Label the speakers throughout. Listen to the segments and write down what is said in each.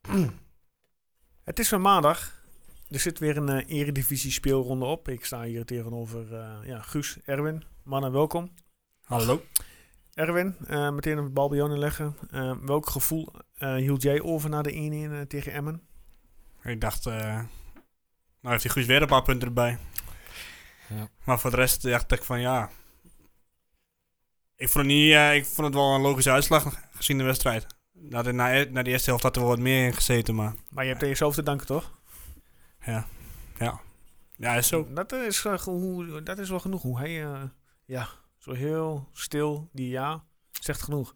Speaker 1: Het is weer maandag. Er zit weer een eh, eredivisie speelronde op. Ik sta hier tegenover eh, ja, Guus, Erwin. Mannen, welkom.
Speaker 2: Hallo.
Speaker 1: Erwin, eh, meteen een bal bij jou neerleggen. Eh, welk gevoel eh, hield jij over na de 1-1 eh, tegen Emmen?
Speaker 2: Ik dacht, eh, nou heeft hij goed weer een paar punten erbij.
Speaker 3: Ja.
Speaker 2: Maar voor de rest dacht ik van ja. Ik vond het, niet, eh, ik vond het wel een logische uitslag gezien de wedstrijd. Na, de, na, e-, na de eerste helft had er wel wat meer in gezeten, maar
Speaker 1: Maar je hebt aan jezelf te danken, toch?
Speaker 2: ja. Ja, ja is zo.
Speaker 1: Dat is, eh, ge- hoe, dat is wel genoeg. Hoe hij, eh, ja, zo heel stil, die ja, zegt genoeg.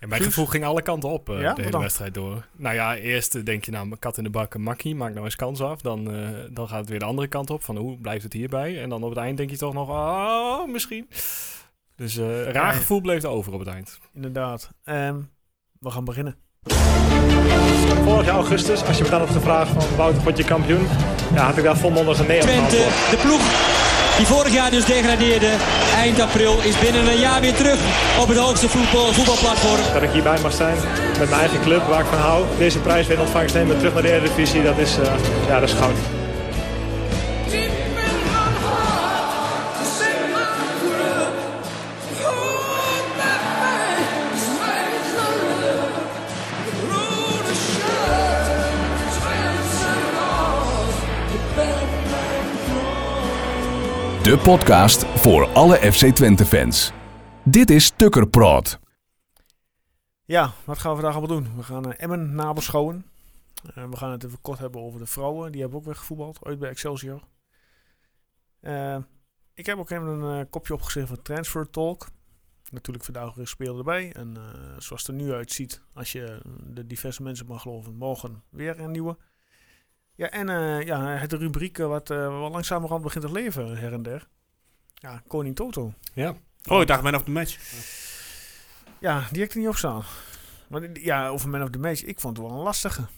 Speaker 3: En mijn
Speaker 1: Guus?
Speaker 3: gevoel ging alle kanten op eh,
Speaker 1: Ja, wat
Speaker 3: de hele
Speaker 1: dan?
Speaker 3: wedstrijd door. Nou ja, eerst eh, denk je nou, kat in de bak, een makkie, maak nou eens kans af. Dan, eh, dan gaat het weer de andere kant op, van hoe blijft het hierbij? En dan op het eind denk je toch nog, oh, misschien. Dus eh raar
Speaker 1: Ja.
Speaker 3: gevoel bleef er over op het eind.
Speaker 1: Inderdaad. Ehm, we gaan beginnen.
Speaker 4: Vorig jaar augustus, als je me dan op de vraag van Wouter, word je kampioen? Ja, had ik daar volmondig een nee op
Speaker 5: Twente,
Speaker 4: geantwoord.
Speaker 5: de ploeg die vorig jaar dus degradeerde, eind april is binnen een jaar weer terug op het hoogste voetbal, voetbalplatform.
Speaker 4: Dat ik hierbij mag zijn met mijn eigen club, waar ik van hou. Deze prijs weer in ontvangst nemen, terug naar de Eredivisie, dat is, eh, ja, dat is goud.
Speaker 6: De podcast voor alle FC Twente fans. Dit is Tukker Praat.
Speaker 1: Ja, wat gaan we vandaag allemaal doen? We gaan eh, Emmen nabeschouwen. Eh, we gaan het even kort hebben over de vrouwen. Die hebben ook weer gevoetbald, ooit bij Excelsior. Eh, ik heb ook even een eh, kopje opgeschreven van Transfer Talk. Natuurlijk vandaag weer spelen erbij. En eh, zoals het er nu uitziet, als je eh, de diverse mensen mag geloven, morgen weer een nieuwe. Ja, en eh, ja, het rubriek eh, wat eh, wel langzamerhand begint te leven her en der. Ja, Koning Toto.
Speaker 3: Ja,
Speaker 2: Oh, ik dacht man of the match.
Speaker 1: Ja, die heb ik er niet op staan. Maar die- ja, over Man of the Match, ik vond het wel een lastige. Want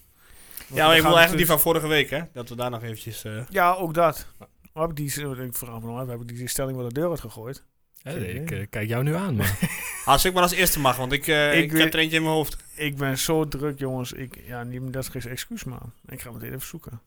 Speaker 1: we
Speaker 2: Ja, maar ik
Speaker 1: gaan
Speaker 2: wil eigenlijk die
Speaker 1: natuurlijk-
Speaker 2: van vorige week, hè? Dat we daar nog eventjes... eh,
Speaker 1: Ja, ook dat. Waar heb ik die, ik vraag me nog af, heb ik die stelling wel de deur uit gegooid?
Speaker 3: Eh,
Speaker 1: Geen
Speaker 3: ik
Speaker 1: idee.
Speaker 3: eh, kijk jou nu aan, maar
Speaker 2: als ik Ah, maar als eerste mag, want ik, eh,
Speaker 1: Ik
Speaker 2: ik,
Speaker 1: weet-
Speaker 2: heb er eentje in mijn hoofd.
Speaker 1: Ik ben zo druk, jongens. Ik, ja, niet, dat is geen excuus, man. Ik ga meteen even zoeken.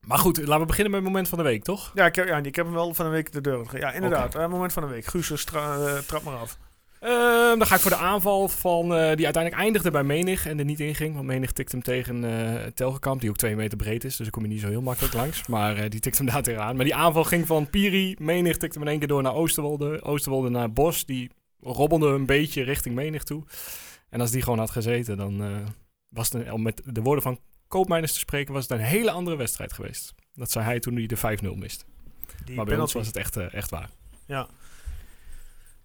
Speaker 3: maar goed, laten we beginnen met het moment van de week, toch?
Speaker 1: Ja, ik heb, ja, ik heb hem wel van de week de deur uitgegooid. Ja, inderdaad. eh, moment van de week. Guus, dus tra- eh, trap maar af.
Speaker 3: Ehm, dan ga ik voor de aanval van eh, die uiteindelijk eindigde bij Menig en er niet inging. Want Menig tikt hem tegen eh Telgekamp, die ook twee meter breed is. Dus daar kom je niet zo heel makkelijk langs. Maar eh, die tikt hem daar tegenaan. Maar die aanval ging van Piri. Menig tikte hem in één keer door naar Oosterwolde. Oosterwolde naar Bos. Die robbelde een beetje richting Menig toe. En als die gewoon had gezeten, dan eh, was het, een- om met de woorden van Koopmeiners te spreken, was het een hele andere wedstrijd geweest. Dat zei hij toen hij de 5-0 miste.
Speaker 1: Die
Speaker 3: Maar bij ons was het echt, eh, echt waar.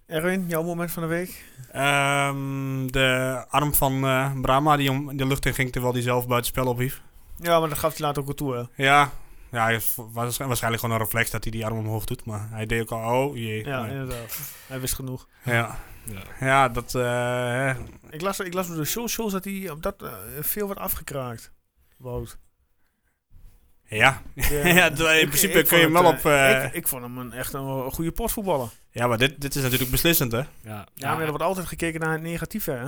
Speaker 1: Erwin, jouw moment van de week?
Speaker 2: Ehm, de arm van eh Brahma die om de lucht in ging terwijl hij zelf buiten spel ophief.
Speaker 1: Ja, maar dat gaf hij later ook al toe, hè.
Speaker 2: Ja, ja hij is wa- waarschijnlijk gewoon een reflex dat hij die arm omhoog doet. Maar hij deed ook al, oh jee.
Speaker 1: Ja,
Speaker 2: Maar-
Speaker 1: inderdaad. Hij wist genoeg.
Speaker 2: ja.
Speaker 3: Ja.
Speaker 2: ja dat... eh, hè.
Speaker 1: Ik las, ik las door de socials dat hij op dat eh, veel wordt afgekraakt. Wout.
Speaker 2: ja.
Speaker 1: Ja.
Speaker 2: ja, d- in
Speaker 1: Ik-
Speaker 2: principe
Speaker 1: ik
Speaker 2: kun je hem
Speaker 1: vond
Speaker 2: wel
Speaker 1: het,
Speaker 2: op...
Speaker 1: eh,
Speaker 2: eh,
Speaker 1: ik, ik vond hem een, echt een, een goede potvoetballer.
Speaker 2: ja, maar dit, dit is natuurlijk beslissend, hè?
Speaker 3: Ja,
Speaker 1: Ja, maar er wordt altijd gekeken naar het negatieve, hè?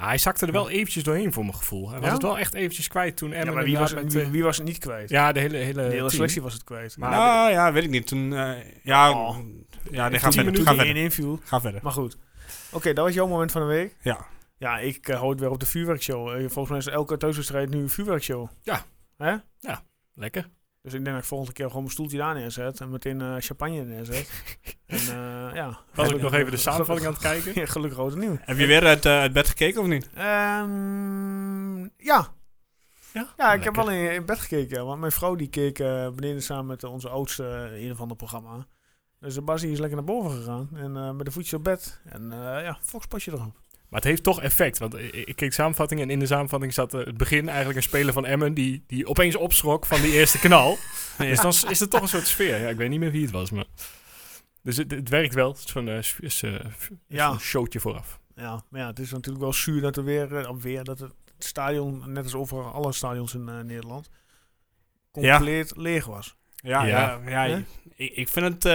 Speaker 3: Ja, hij zakte er wel eventjes doorheen voor mijn gevoel. Hij was
Speaker 1: Ja?
Speaker 3: het wel echt eventjes kwijt toen Emmen
Speaker 1: Ja, maar wie was,
Speaker 3: inderdaad
Speaker 1: wie,
Speaker 3: met, eh,
Speaker 1: wie was het niet kwijt? Eh,
Speaker 3: ja, de hele, hele,
Speaker 1: de hele
Speaker 3: team.
Speaker 1: selectie was het kwijt.
Speaker 3: Maar-
Speaker 2: nou, ja, weet ik niet. Toen... eh, ja,
Speaker 1: Oh.
Speaker 2: ja nee,
Speaker 1: Ik
Speaker 2: ga
Speaker 1: vond
Speaker 2: verder.
Speaker 1: die
Speaker 2: Ga
Speaker 1: minuut die
Speaker 2: verder.
Speaker 1: 1-1 viel.
Speaker 2: Ga verder.
Speaker 1: Maar goed. Oké, dat was jouw moment van de week.
Speaker 2: Ja.
Speaker 1: Ja, ik eh, hou het weer op de vuurwerkshow. Eh, volgens mij is elke thuiswedstrijd nu een vuurwerkshow.
Speaker 3: Ja.
Speaker 1: Hè?
Speaker 3: Lekker.
Speaker 1: Dus ik denk dat ik volgende keer gewoon mijn stoeltje daar neerzet en meteen eh, champagne neerzet. en eh, ja.
Speaker 3: Was ik
Speaker 1: Gelukkig-
Speaker 3: nog even de samenvatting aan het kijken.
Speaker 1: Ja, Gelukkig rood en nieuw.
Speaker 2: Heb je weer uit, eh, uit bed gekeken of niet?
Speaker 1: Ehm, ja. Ja, ik heb wel in, in bed gekeken. Want mijn vrouw die keek eh, beneden samen met eh, onze oudste eh, in een of ander programma. Dus de Basie is lekker naar boven gegaan. En eh, met de voetjes op bed. En eh, ja, Fox pas je erop.
Speaker 3: Maar het heeft toch effect. Want ik, ik keek samenvatting en in de samenvatting zat eh, het begin eigenlijk een speler van Emmen die, die opeens opschrok van die eerste knal. Dus dan s- is het toch een soort sfeer. Ja, ik weet niet meer wie het was, maar... Dus het, het werkt wel. Het is zo'n eh, s- is, eh, f-
Speaker 1: Ja.
Speaker 3: zo'n showtje vooraf.
Speaker 1: Ja, maar ja, het is natuurlijk wel zuur dat er weer, eh, weer dat het stadion, net als over alle stadions in eh, Nederland, compleet leeg was.
Speaker 2: Ja,
Speaker 3: Ja.
Speaker 2: ja. ja,
Speaker 1: Hè?
Speaker 2: ik, ik vind het... eh,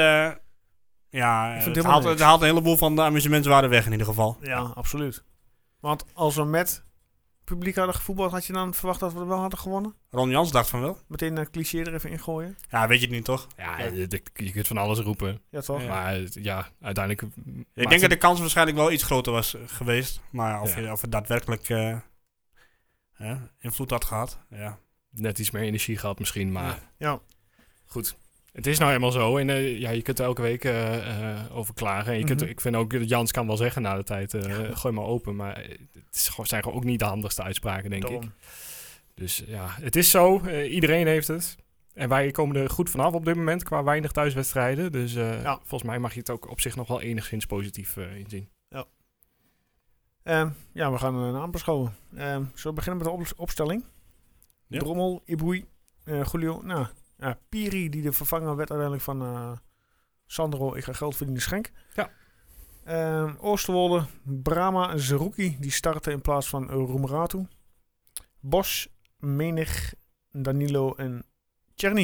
Speaker 2: ja,
Speaker 1: vind het
Speaker 2: het,
Speaker 1: helemaal
Speaker 2: haalt,
Speaker 1: niks.
Speaker 2: het haalt een heleboel van de amusementswaarde weg in ieder geval.
Speaker 1: Ja, absoluut. Want als we met publiek hadden gevoetbald, had je dan verwacht dat we wel hadden gewonnen?
Speaker 2: Ron Jans dacht van wel.
Speaker 1: Meteen een cliché er even ingooien.
Speaker 2: Ja, weet je het niet toch?
Speaker 3: Ja, je- je kunt van alles roepen.
Speaker 1: Ja, toch?
Speaker 2: Ja.
Speaker 3: Maar eh, ja, uiteindelijk...
Speaker 2: Ik denk dat de kans waarschijnlijk wel iets groter was eh, geweest. Maar of,
Speaker 3: Ja.
Speaker 2: je, of het daadwerkelijk eh, hè, invloed had gehad. Ja.
Speaker 3: net iets meer energie gehad misschien, maar...
Speaker 1: Ja.
Speaker 3: Goed. Het is nou eenmaal zo. En eh, ja, je kunt er elke week eh, eh, over klagen. En je kunt,
Speaker 1: Mhm.
Speaker 3: Ik vind ook, dat Jans kan wel zeggen na de tijd, eh, gooi maar open. Maar eh, het is gewoon, zijn gewoon ook niet de handigste uitspraken, denk ik.
Speaker 1: Daarom.
Speaker 3: Dus ja, het is zo. Eh, iedereen heeft het. En wij komen er goed vanaf op dit moment qua weinig thuiswedstrijden. Dus eh,
Speaker 1: Ja.
Speaker 3: volgens mij mag je het ook op zich nog wel enigszins positief eh, inzien.
Speaker 1: Ehm, ja, we gaan een naam beschouwen. Ehm zullen we beginnen met de op- opstelling?
Speaker 2: Ja.
Speaker 1: Drommel, Ibui, eh, Julio. Nou, ja, Piri, die de vervanger werd uiteindelijk van eh, Sandro, ik ga geld verdienen, Schenk.
Speaker 3: Ja.
Speaker 1: Ehm, Oosterwolde, Brahma en Zerouki, die starten in plaats van eh, Roemeratu. Bos, Menig, Danilo en Tjerni.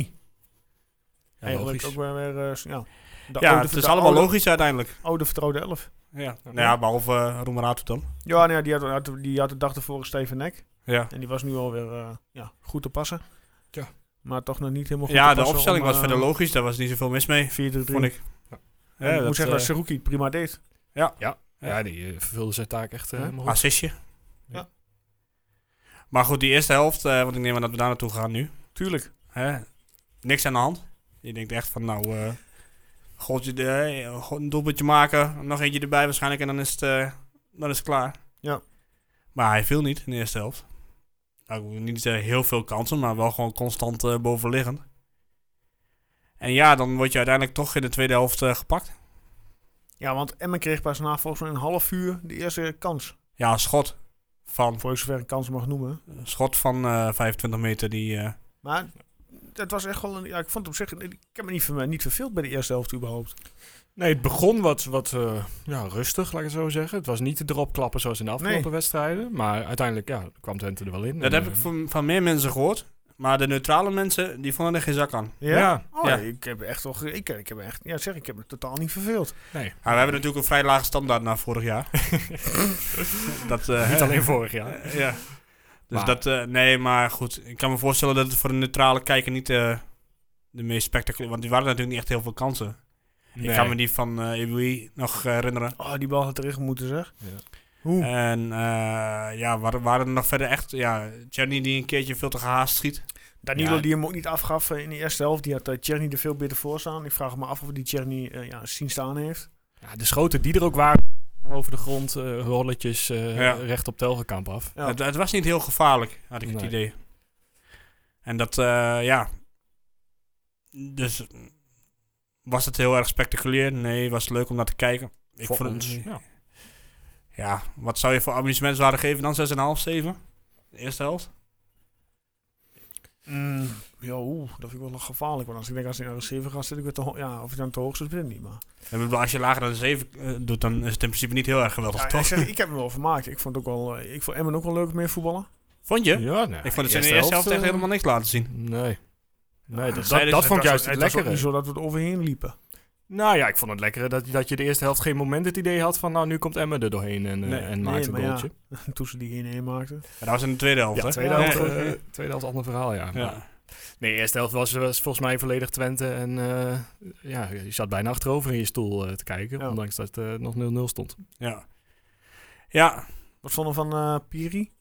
Speaker 3: Ja,
Speaker 1: Eigenlijk
Speaker 3: logisch.
Speaker 1: ook weer, weer eh, s- ja, de
Speaker 2: Ja,
Speaker 1: oude
Speaker 2: het is
Speaker 1: vertrouw-
Speaker 2: allemaal
Speaker 1: oude-
Speaker 2: logisch uiteindelijk.
Speaker 1: Oude vertrouwde elf.
Speaker 2: Ja, nou ja behalve eh Roemerato dan.
Speaker 1: Ja, nou ja, die, had, had- die had de dag ervoor een stevige nek.
Speaker 2: Ja,
Speaker 1: En die was nu alweer eh ja, goed te passen.
Speaker 3: Ja.
Speaker 1: Maar toch nog niet helemaal goed
Speaker 2: ja
Speaker 1: te
Speaker 2: de
Speaker 1: passen
Speaker 2: opstelling
Speaker 1: om,
Speaker 2: was
Speaker 1: eh,
Speaker 2: verder logisch. Daar was niet zoveel mis mee,
Speaker 1: 4-3-3.
Speaker 2: vond ik.
Speaker 3: Ja.
Speaker 1: En ik
Speaker 2: Ja,
Speaker 1: moet
Speaker 2: dat,
Speaker 1: zeggen
Speaker 2: eh,
Speaker 1: dat Saruki het prima deed.
Speaker 3: Ja, die eh, vervulde zijn taak echt eh,
Speaker 1: Ja.
Speaker 3: helemaal goed.
Speaker 2: assistje.
Speaker 1: Ja.
Speaker 2: Maar goed, die eerste helft, eh, want ik neem aan dat we daar naartoe gaan nu.
Speaker 1: Tuurlijk.
Speaker 2: Hè? Niks aan de hand. Je denkt echt van, nou, eh gootje de, eh, go- een doelpuntje maken, nog eentje erbij waarschijnlijk en dan is het, eh, dan is het klaar.
Speaker 1: Ja.
Speaker 2: Maar hij viel niet in de eerste helft. Nou, ik wil niet zeggen heel veel kansen, maar wel gewoon constant eh, bovenliggend. En ja, dan word je uiteindelijk toch in de tweede helft eh, gepakt.
Speaker 1: Ja, want Emmen kreeg pas na volgens mij een half uur de eerste kans.
Speaker 2: Ja, een schot van,
Speaker 1: Voor ik zover een kans mag noemen.
Speaker 2: een schot van eh 25 meter die... eh,
Speaker 1: Maar dat was echt wel een... Ja, ik vond het op zich... Ik heb me niet, ver- niet verveeld bij de eerste helft überhaupt.
Speaker 3: Nee, het begon wat, wat eh, ja, rustig, laat ik het zo zeggen. Het was niet de dropklappen zoals in de afgelopen
Speaker 1: Nee.
Speaker 3: wedstrijden. Maar uiteindelijk ja, kwam Twente er wel in.
Speaker 2: dat
Speaker 3: En,
Speaker 2: heb ik
Speaker 3: eh,
Speaker 2: van, van meer mensen gehoord. Maar de neutrale mensen, die vonden er geen zak aan.
Speaker 1: Ja?
Speaker 3: Ja.
Speaker 1: Oh,
Speaker 2: Ja.
Speaker 1: ik heb echt wel... ge- Ik, ik heb echt... Ja, zeg, ik heb me totaal niet verveeld.
Speaker 3: Nee,
Speaker 2: Ja, we hebben natuurlijk een vrij lage standaard na vorig jaar. dat, eh,
Speaker 3: niet alleen vorig jaar.
Speaker 2: eh, ja. Dus
Speaker 3: Maar-
Speaker 2: dat, eh, nee, maar goed. Ik kan me voorstellen dat het voor een neutrale kijker niet eh, de meest spectaculaire... Want die waren natuurlijk niet echt heel veel kansen.
Speaker 3: Nee.
Speaker 2: Ik kan me die van eh Ibui nog herinneren.
Speaker 1: Oh, die bal had erin moeten, zeg.
Speaker 3: Ja.
Speaker 1: Hoe?
Speaker 2: En eh, ja, waren, waren er nog verder echt... Ja, Gianni die een keertje veel te gehaast schiet.
Speaker 1: Danilo
Speaker 3: Ja.
Speaker 1: die hem ook niet afgaf eh, in de eerste helft. Die had eh, Tjerni er veel beter voor staan. Ik vraag me af of die Tjerni eh, ja, zien staan heeft.
Speaker 3: Ja, de schoten die er ook waren, over de grond, eh, rolletjes eh,
Speaker 2: Ja.
Speaker 3: recht op Telgenkamp af.
Speaker 1: Ja.
Speaker 2: Het, het was niet heel gevaarlijk, had ik het
Speaker 3: Nee.
Speaker 2: idee. En dat, eh, ja. Dus mm, was het heel erg spectaculair? Nee, was het leuk om naar te kijken? Ik
Speaker 3: Voor
Speaker 2: vond
Speaker 3: ons,
Speaker 2: het.
Speaker 3: ja.
Speaker 2: Ja, wat zou je voor amusementswaarde geven dan? 6,5, 7? De eerste helft?
Speaker 1: Mm, ja, oeh, dat vind ik wel nog gevaarlijk. Want als ik denk, als ik naar de 7 ga, zit ik weer te ho- Ja, of ik dan te hoog zit, weet ik niet. Maar.
Speaker 2: Ik bedoel, als je lager dan de 7 eh, doet, dan is het in principe niet heel erg geweldig,
Speaker 1: Ja, ik,
Speaker 2: toch?
Speaker 1: zeg, ik heb hem wel vermaakt. Ik vond, ook wel, eh, ik vond Emmen ook wel leuk meer voetballen.
Speaker 2: Vond je?
Speaker 3: nee,
Speaker 2: ik vond het in de eerste helft echt
Speaker 3: eh,
Speaker 2: helemaal niks laten zien.
Speaker 3: Nee. Nee, dat,
Speaker 2: Zij
Speaker 3: dat,
Speaker 2: dus-
Speaker 3: dat vond
Speaker 1: was
Speaker 3: ik juist
Speaker 1: ook-
Speaker 3: het
Speaker 1: Het was ook
Speaker 3: lekkere.
Speaker 1: niet zo dat we er overheen liepen.
Speaker 3: Nou ja, ik vond het lekkere dat, dat je de eerste helft geen moment het idee had van... nou, nu komt Emmen er doorheen en, eh,
Speaker 2: Nee,
Speaker 3: en maakt
Speaker 1: maar
Speaker 3: een
Speaker 1: ja.
Speaker 3: goaltje.
Speaker 1: Toen ze die 1-1 maakten.
Speaker 2: Maar dat was in de tweede helft,
Speaker 3: Ja,
Speaker 2: hè?
Speaker 3: tweede,
Speaker 1: Ja.
Speaker 3: helft,
Speaker 2: Ja.
Speaker 3: eh, tweede helft ander verhaal, ja.
Speaker 2: Ja.
Speaker 3: Maar- Nee, de eerste helft was, was volgens mij volledig Twente. En eh, ja, je zat bijna achterover in je stoel eh, te kijken.
Speaker 1: Ja.
Speaker 3: Ondanks dat eh, het nog 0-0 stond.
Speaker 2: ja. Ja,
Speaker 1: Wat vonden we van eh, Piri?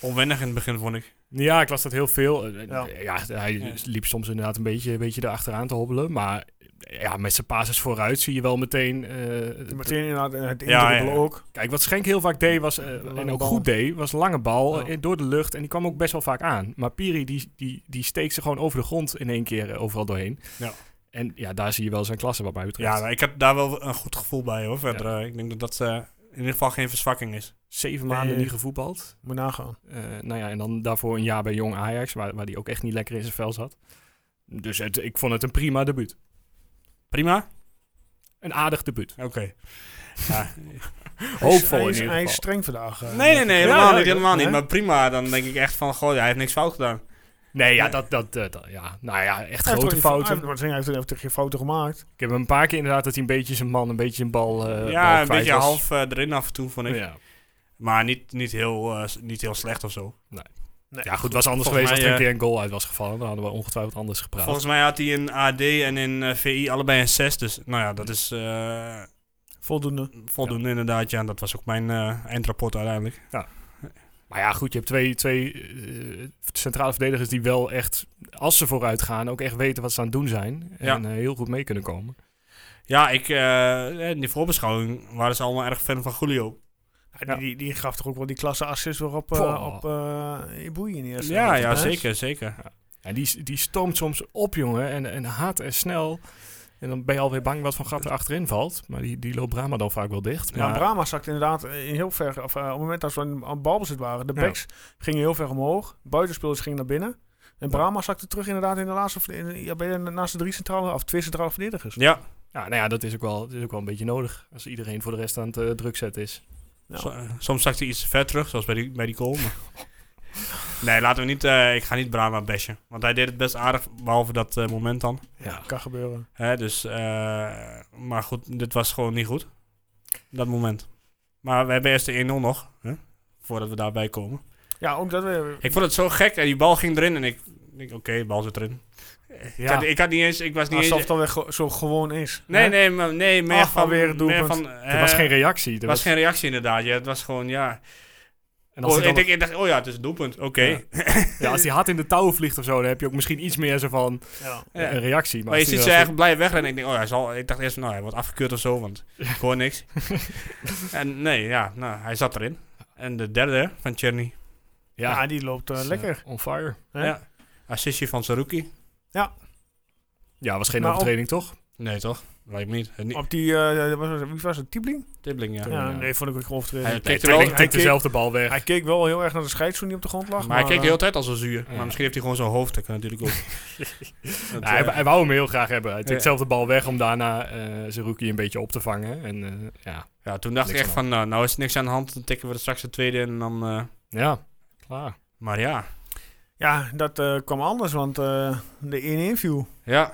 Speaker 2: onwennig in het begin, vond ik.
Speaker 3: Ja, ik las dat heel veel. Eh,
Speaker 1: Ja.
Speaker 3: eh, Ja, hij
Speaker 2: Ja.
Speaker 3: liep soms inderdaad een beetje, een beetje erachteraan te hobbelen. Maar eh, ja, met zijn passes vooruit zie je wel meteen... eh,
Speaker 1: Meteen inderdaad eh, het
Speaker 2: Ja,
Speaker 1: indruppelen
Speaker 2: ja.
Speaker 1: ook.
Speaker 3: Kijk, wat Schenk heel vaak deed was, eh,
Speaker 1: lange
Speaker 3: en ook
Speaker 1: bal.
Speaker 3: goed deed, was lange bal
Speaker 1: Ja.
Speaker 3: eh, door de lucht. En die kwam ook best wel vaak aan. Maar Piri, die, die, die steekt ze gewoon over de grond in één keer eh, overal doorheen.
Speaker 2: Ja.
Speaker 3: En ja, daar zie je wel zijn klasse wat mij betreft.
Speaker 2: Ja, nou, ik heb daar wel een goed gevoel bij hoor. Verder, eh, ik denk dat dat eh, in ieder geval geen verzwakking is.
Speaker 3: Zeven maanden
Speaker 1: Nee.
Speaker 3: niet gevoetbald.
Speaker 1: Moet nagaan.
Speaker 3: Eh, nou ja, en dan daarvoor een jaar bij Jong Ajax, waar, waar die ook echt niet lekker in zijn vel zat. Dus het, ik vond het een prima debuut.
Speaker 2: Prima?
Speaker 3: Een aardig debuut.
Speaker 2: Oké. Ja.
Speaker 3: Hoopvol
Speaker 1: hij
Speaker 3: in
Speaker 1: is,
Speaker 3: ieder
Speaker 1: hij is
Speaker 3: geval.
Speaker 1: streng vandaag. eh,
Speaker 2: Nee, nee, nee,
Speaker 1: Ja,
Speaker 2: helemaal
Speaker 1: ja,
Speaker 2: niet.
Speaker 1: ja.
Speaker 2: Helemaal niet.
Speaker 1: Nee?
Speaker 2: Maar prima, dan denk ik echt van, goh, hij heeft niks fout gedaan.
Speaker 3: Nee, ja,
Speaker 2: Nee.
Speaker 3: dat, dat, eh, dat- ja. Nou ja, echt
Speaker 1: Hij heeft
Speaker 3: grote
Speaker 1: toch geen-
Speaker 3: fouten.
Speaker 1: Hij heeft, hij heeft, hij heeft geen fouten gemaakt.
Speaker 3: Ik heb hem een paar keer inderdaad dat hij een beetje zijn man, een beetje zijn bal eh, bal
Speaker 2: ja, een
Speaker 3: kwijt
Speaker 2: beetje
Speaker 3: was.
Speaker 2: half eh, erin af en toe, vond ik.
Speaker 3: Ja.
Speaker 2: Maar niet, niet, heel, eh, s- niet heel slecht of zo.
Speaker 1: Nee,
Speaker 3: Ja, goed, het was anders
Speaker 2: volgens
Speaker 3: geweest dat er
Speaker 2: mij,
Speaker 3: een keer een goal uit was gevallen. Dan hadden we ongetwijfeld anders gepraat.
Speaker 2: Volgens mij had hij in AD en in eh, VI allebei een 6. Dus nou ja, dat is eh,
Speaker 1: Voldoende.
Speaker 2: voldoende inderdaad. Ja, dat was ook mijn eh, eindrapport uiteindelijk.
Speaker 3: Maar ja, goed, je hebt twee, twee eh, centrale verdedigers die wel echt, als ze vooruit gaan, ook echt weten wat ze aan het doen zijn. En
Speaker 2: Ja.
Speaker 3: eh, heel goed mee kunnen komen.
Speaker 2: Ja, ik, eh, in die voorbeschouwing waren ze allemaal erg fan van Julio.
Speaker 1: Die, die, die gaf toch ook wel die klasse assist weer op, eh,
Speaker 3: Poh.
Speaker 1: op eh Iboei in de eerste
Speaker 2: Ja,
Speaker 1: helft,
Speaker 2: ja,
Speaker 1: hè?
Speaker 2: zeker, zeker.
Speaker 3: En die, die stormt soms op, jongen, en, en hard en snel. En dan ben je alweer bang wat van gat er achterin valt. Maar die, die loopt Brama dan vaak wel dicht.
Speaker 1: Ja,
Speaker 3: Maar
Speaker 1: Brahma zakt inderdaad eh, heel ver. Of, eh, op het moment dat we aan- aan balbezit waren, de
Speaker 3: Ja.
Speaker 1: backs gingen heel ver omhoog. Buitenspelers gingen naar binnen. En Brahma zakte terug inderdaad in de laatste, verde- in- ja, bij de- naast de drie centrale, of twee centrale verdedigers.
Speaker 2: Ja,
Speaker 3: ja, nou ja, dat is, ook wel, dat is ook wel een beetje nodig. Als iedereen voor de rest aan het eh, druk zetten is.
Speaker 1: Nou.
Speaker 2: so- eh, soms zakt hij iets te ver terug, zoals bij die, bij die goal. maar- nee, laten we niet, eh, ik ga niet Brahma bashen. Want hij deed het best aardig, behalve dat eh, moment dan.
Speaker 3: Ja.
Speaker 1: Kan gebeuren.
Speaker 2: Hè, dus, eh, maar goed, dit was gewoon niet goed. Dat moment. Maar we hebben eerst de 1-0 nog, hè, voordat we daarbij komen.
Speaker 1: Ja, ook dat we...
Speaker 2: Ik vond het zo gek, en die bal ging erin en ik denk, oké, de bal zit erin. Ik, had, ik had niet eens, ik was niet
Speaker 1: Alsof
Speaker 2: eens...
Speaker 1: het alweer ge- zo gewoon is.
Speaker 2: Nee,
Speaker 1: Hè?
Speaker 2: nee, maar- nee, meer
Speaker 1: Ach,
Speaker 2: van...
Speaker 1: alweer een
Speaker 2: meer
Speaker 1: doelpunt.
Speaker 2: van
Speaker 3: Er was
Speaker 2: eh,
Speaker 3: geen reactie. Er
Speaker 2: er
Speaker 3: was,
Speaker 2: was geen reactie inderdaad, ja, het was gewoon, ja...
Speaker 3: en als
Speaker 2: Oh,
Speaker 3: hij dan
Speaker 2: ik, denk, ik dacht, oh ja, het is een doelpunt. Oké.
Speaker 3: Ja. Ja, als die hard in de touw vliegt of zo, dan heb je ook misschien iets meer zo van
Speaker 1: Ja.
Speaker 2: Ja.
Speaker 3: een reactie. Maar,
Speaker 2: Maar je
Speaker 3: als die
Speaker 2: ziet ze
Speaker 3: wel-
Speaker 2: eigenlijk blij wegrennen. Ik, denk, oh, hij zal, ik dacht eerst, nou, hij wordt afgekeurd of zo, want ik hoor niks. en nee, ja, nou, hij zat erin. En de derde hè, van Cherny.
Speaker 1: Ja,
Speaker 3: Ja,
Speaker 1: die loopt eh,
Speaker 3: is, eh,
Speaker 1: lekker.
Speaker 3: on fire.
Speaker 1: Hè?
Speaker 2: Ja. Assistje van Saruki.
Speaker 3: Ja, was geen
Speaker 1: Maar op-
Speaker 3: overtreding, toch?
Speaker 2: Nee, toch? Lijkt me niet. Eh, niet-
Speaker 1: Op die, eh, wat was het? wie was het, Tibling?
Speaker 2: Tibbling, ja.
Speaker 1: Ja,
Speaker 2: ja.
Speaker 1: nee, vond ik ook overtreden.
Speaker 2: Hij
Speaker 1: Hij,
Speaker 2: kijkt er
Speaker 3: Hij
Speaker 2: wel...
Speaker 3: tikt
Speaker 2: Hij keek-
Speaker 3: dezelfde bal weg.
Speaker 1: hij keek wel heel erg naar de scheids toen hij op de grond lag.
Speaker 2: maar hij keek de
Speaker 1: eh,
Speaker 2: hele tijd al zo zuur.
Speaker 3: Ja.
Speaker 2: Maar misschien heeft hij gewoon zo'n hoofd. Dat kan natuurlijk ook. Dat,
Speaker 3: Nou, hij,
Speaker 2: eh,
Speaker 3: hij wou hem heel graag hebben. Hij tikt
Speaker 2: Ja.
Speaker 3: dezelfde bal weg om daarna eh zijn rookie een beetje op te vangen. En eh, ja.
Speaker 2: ja, toen dacht ik
Speaker 3: niks
Speaker 2: echt van, nou, nou is niks aan de hand. Dan tikken we er straks de tweede en dan... eh,
Speaker 3: ja, klaar.
Speaker 2: maar ja.
Speaker 1: Ja, dat eh, kwam anders, want eh, de 1-1 viel.
Speaker 2: Ja.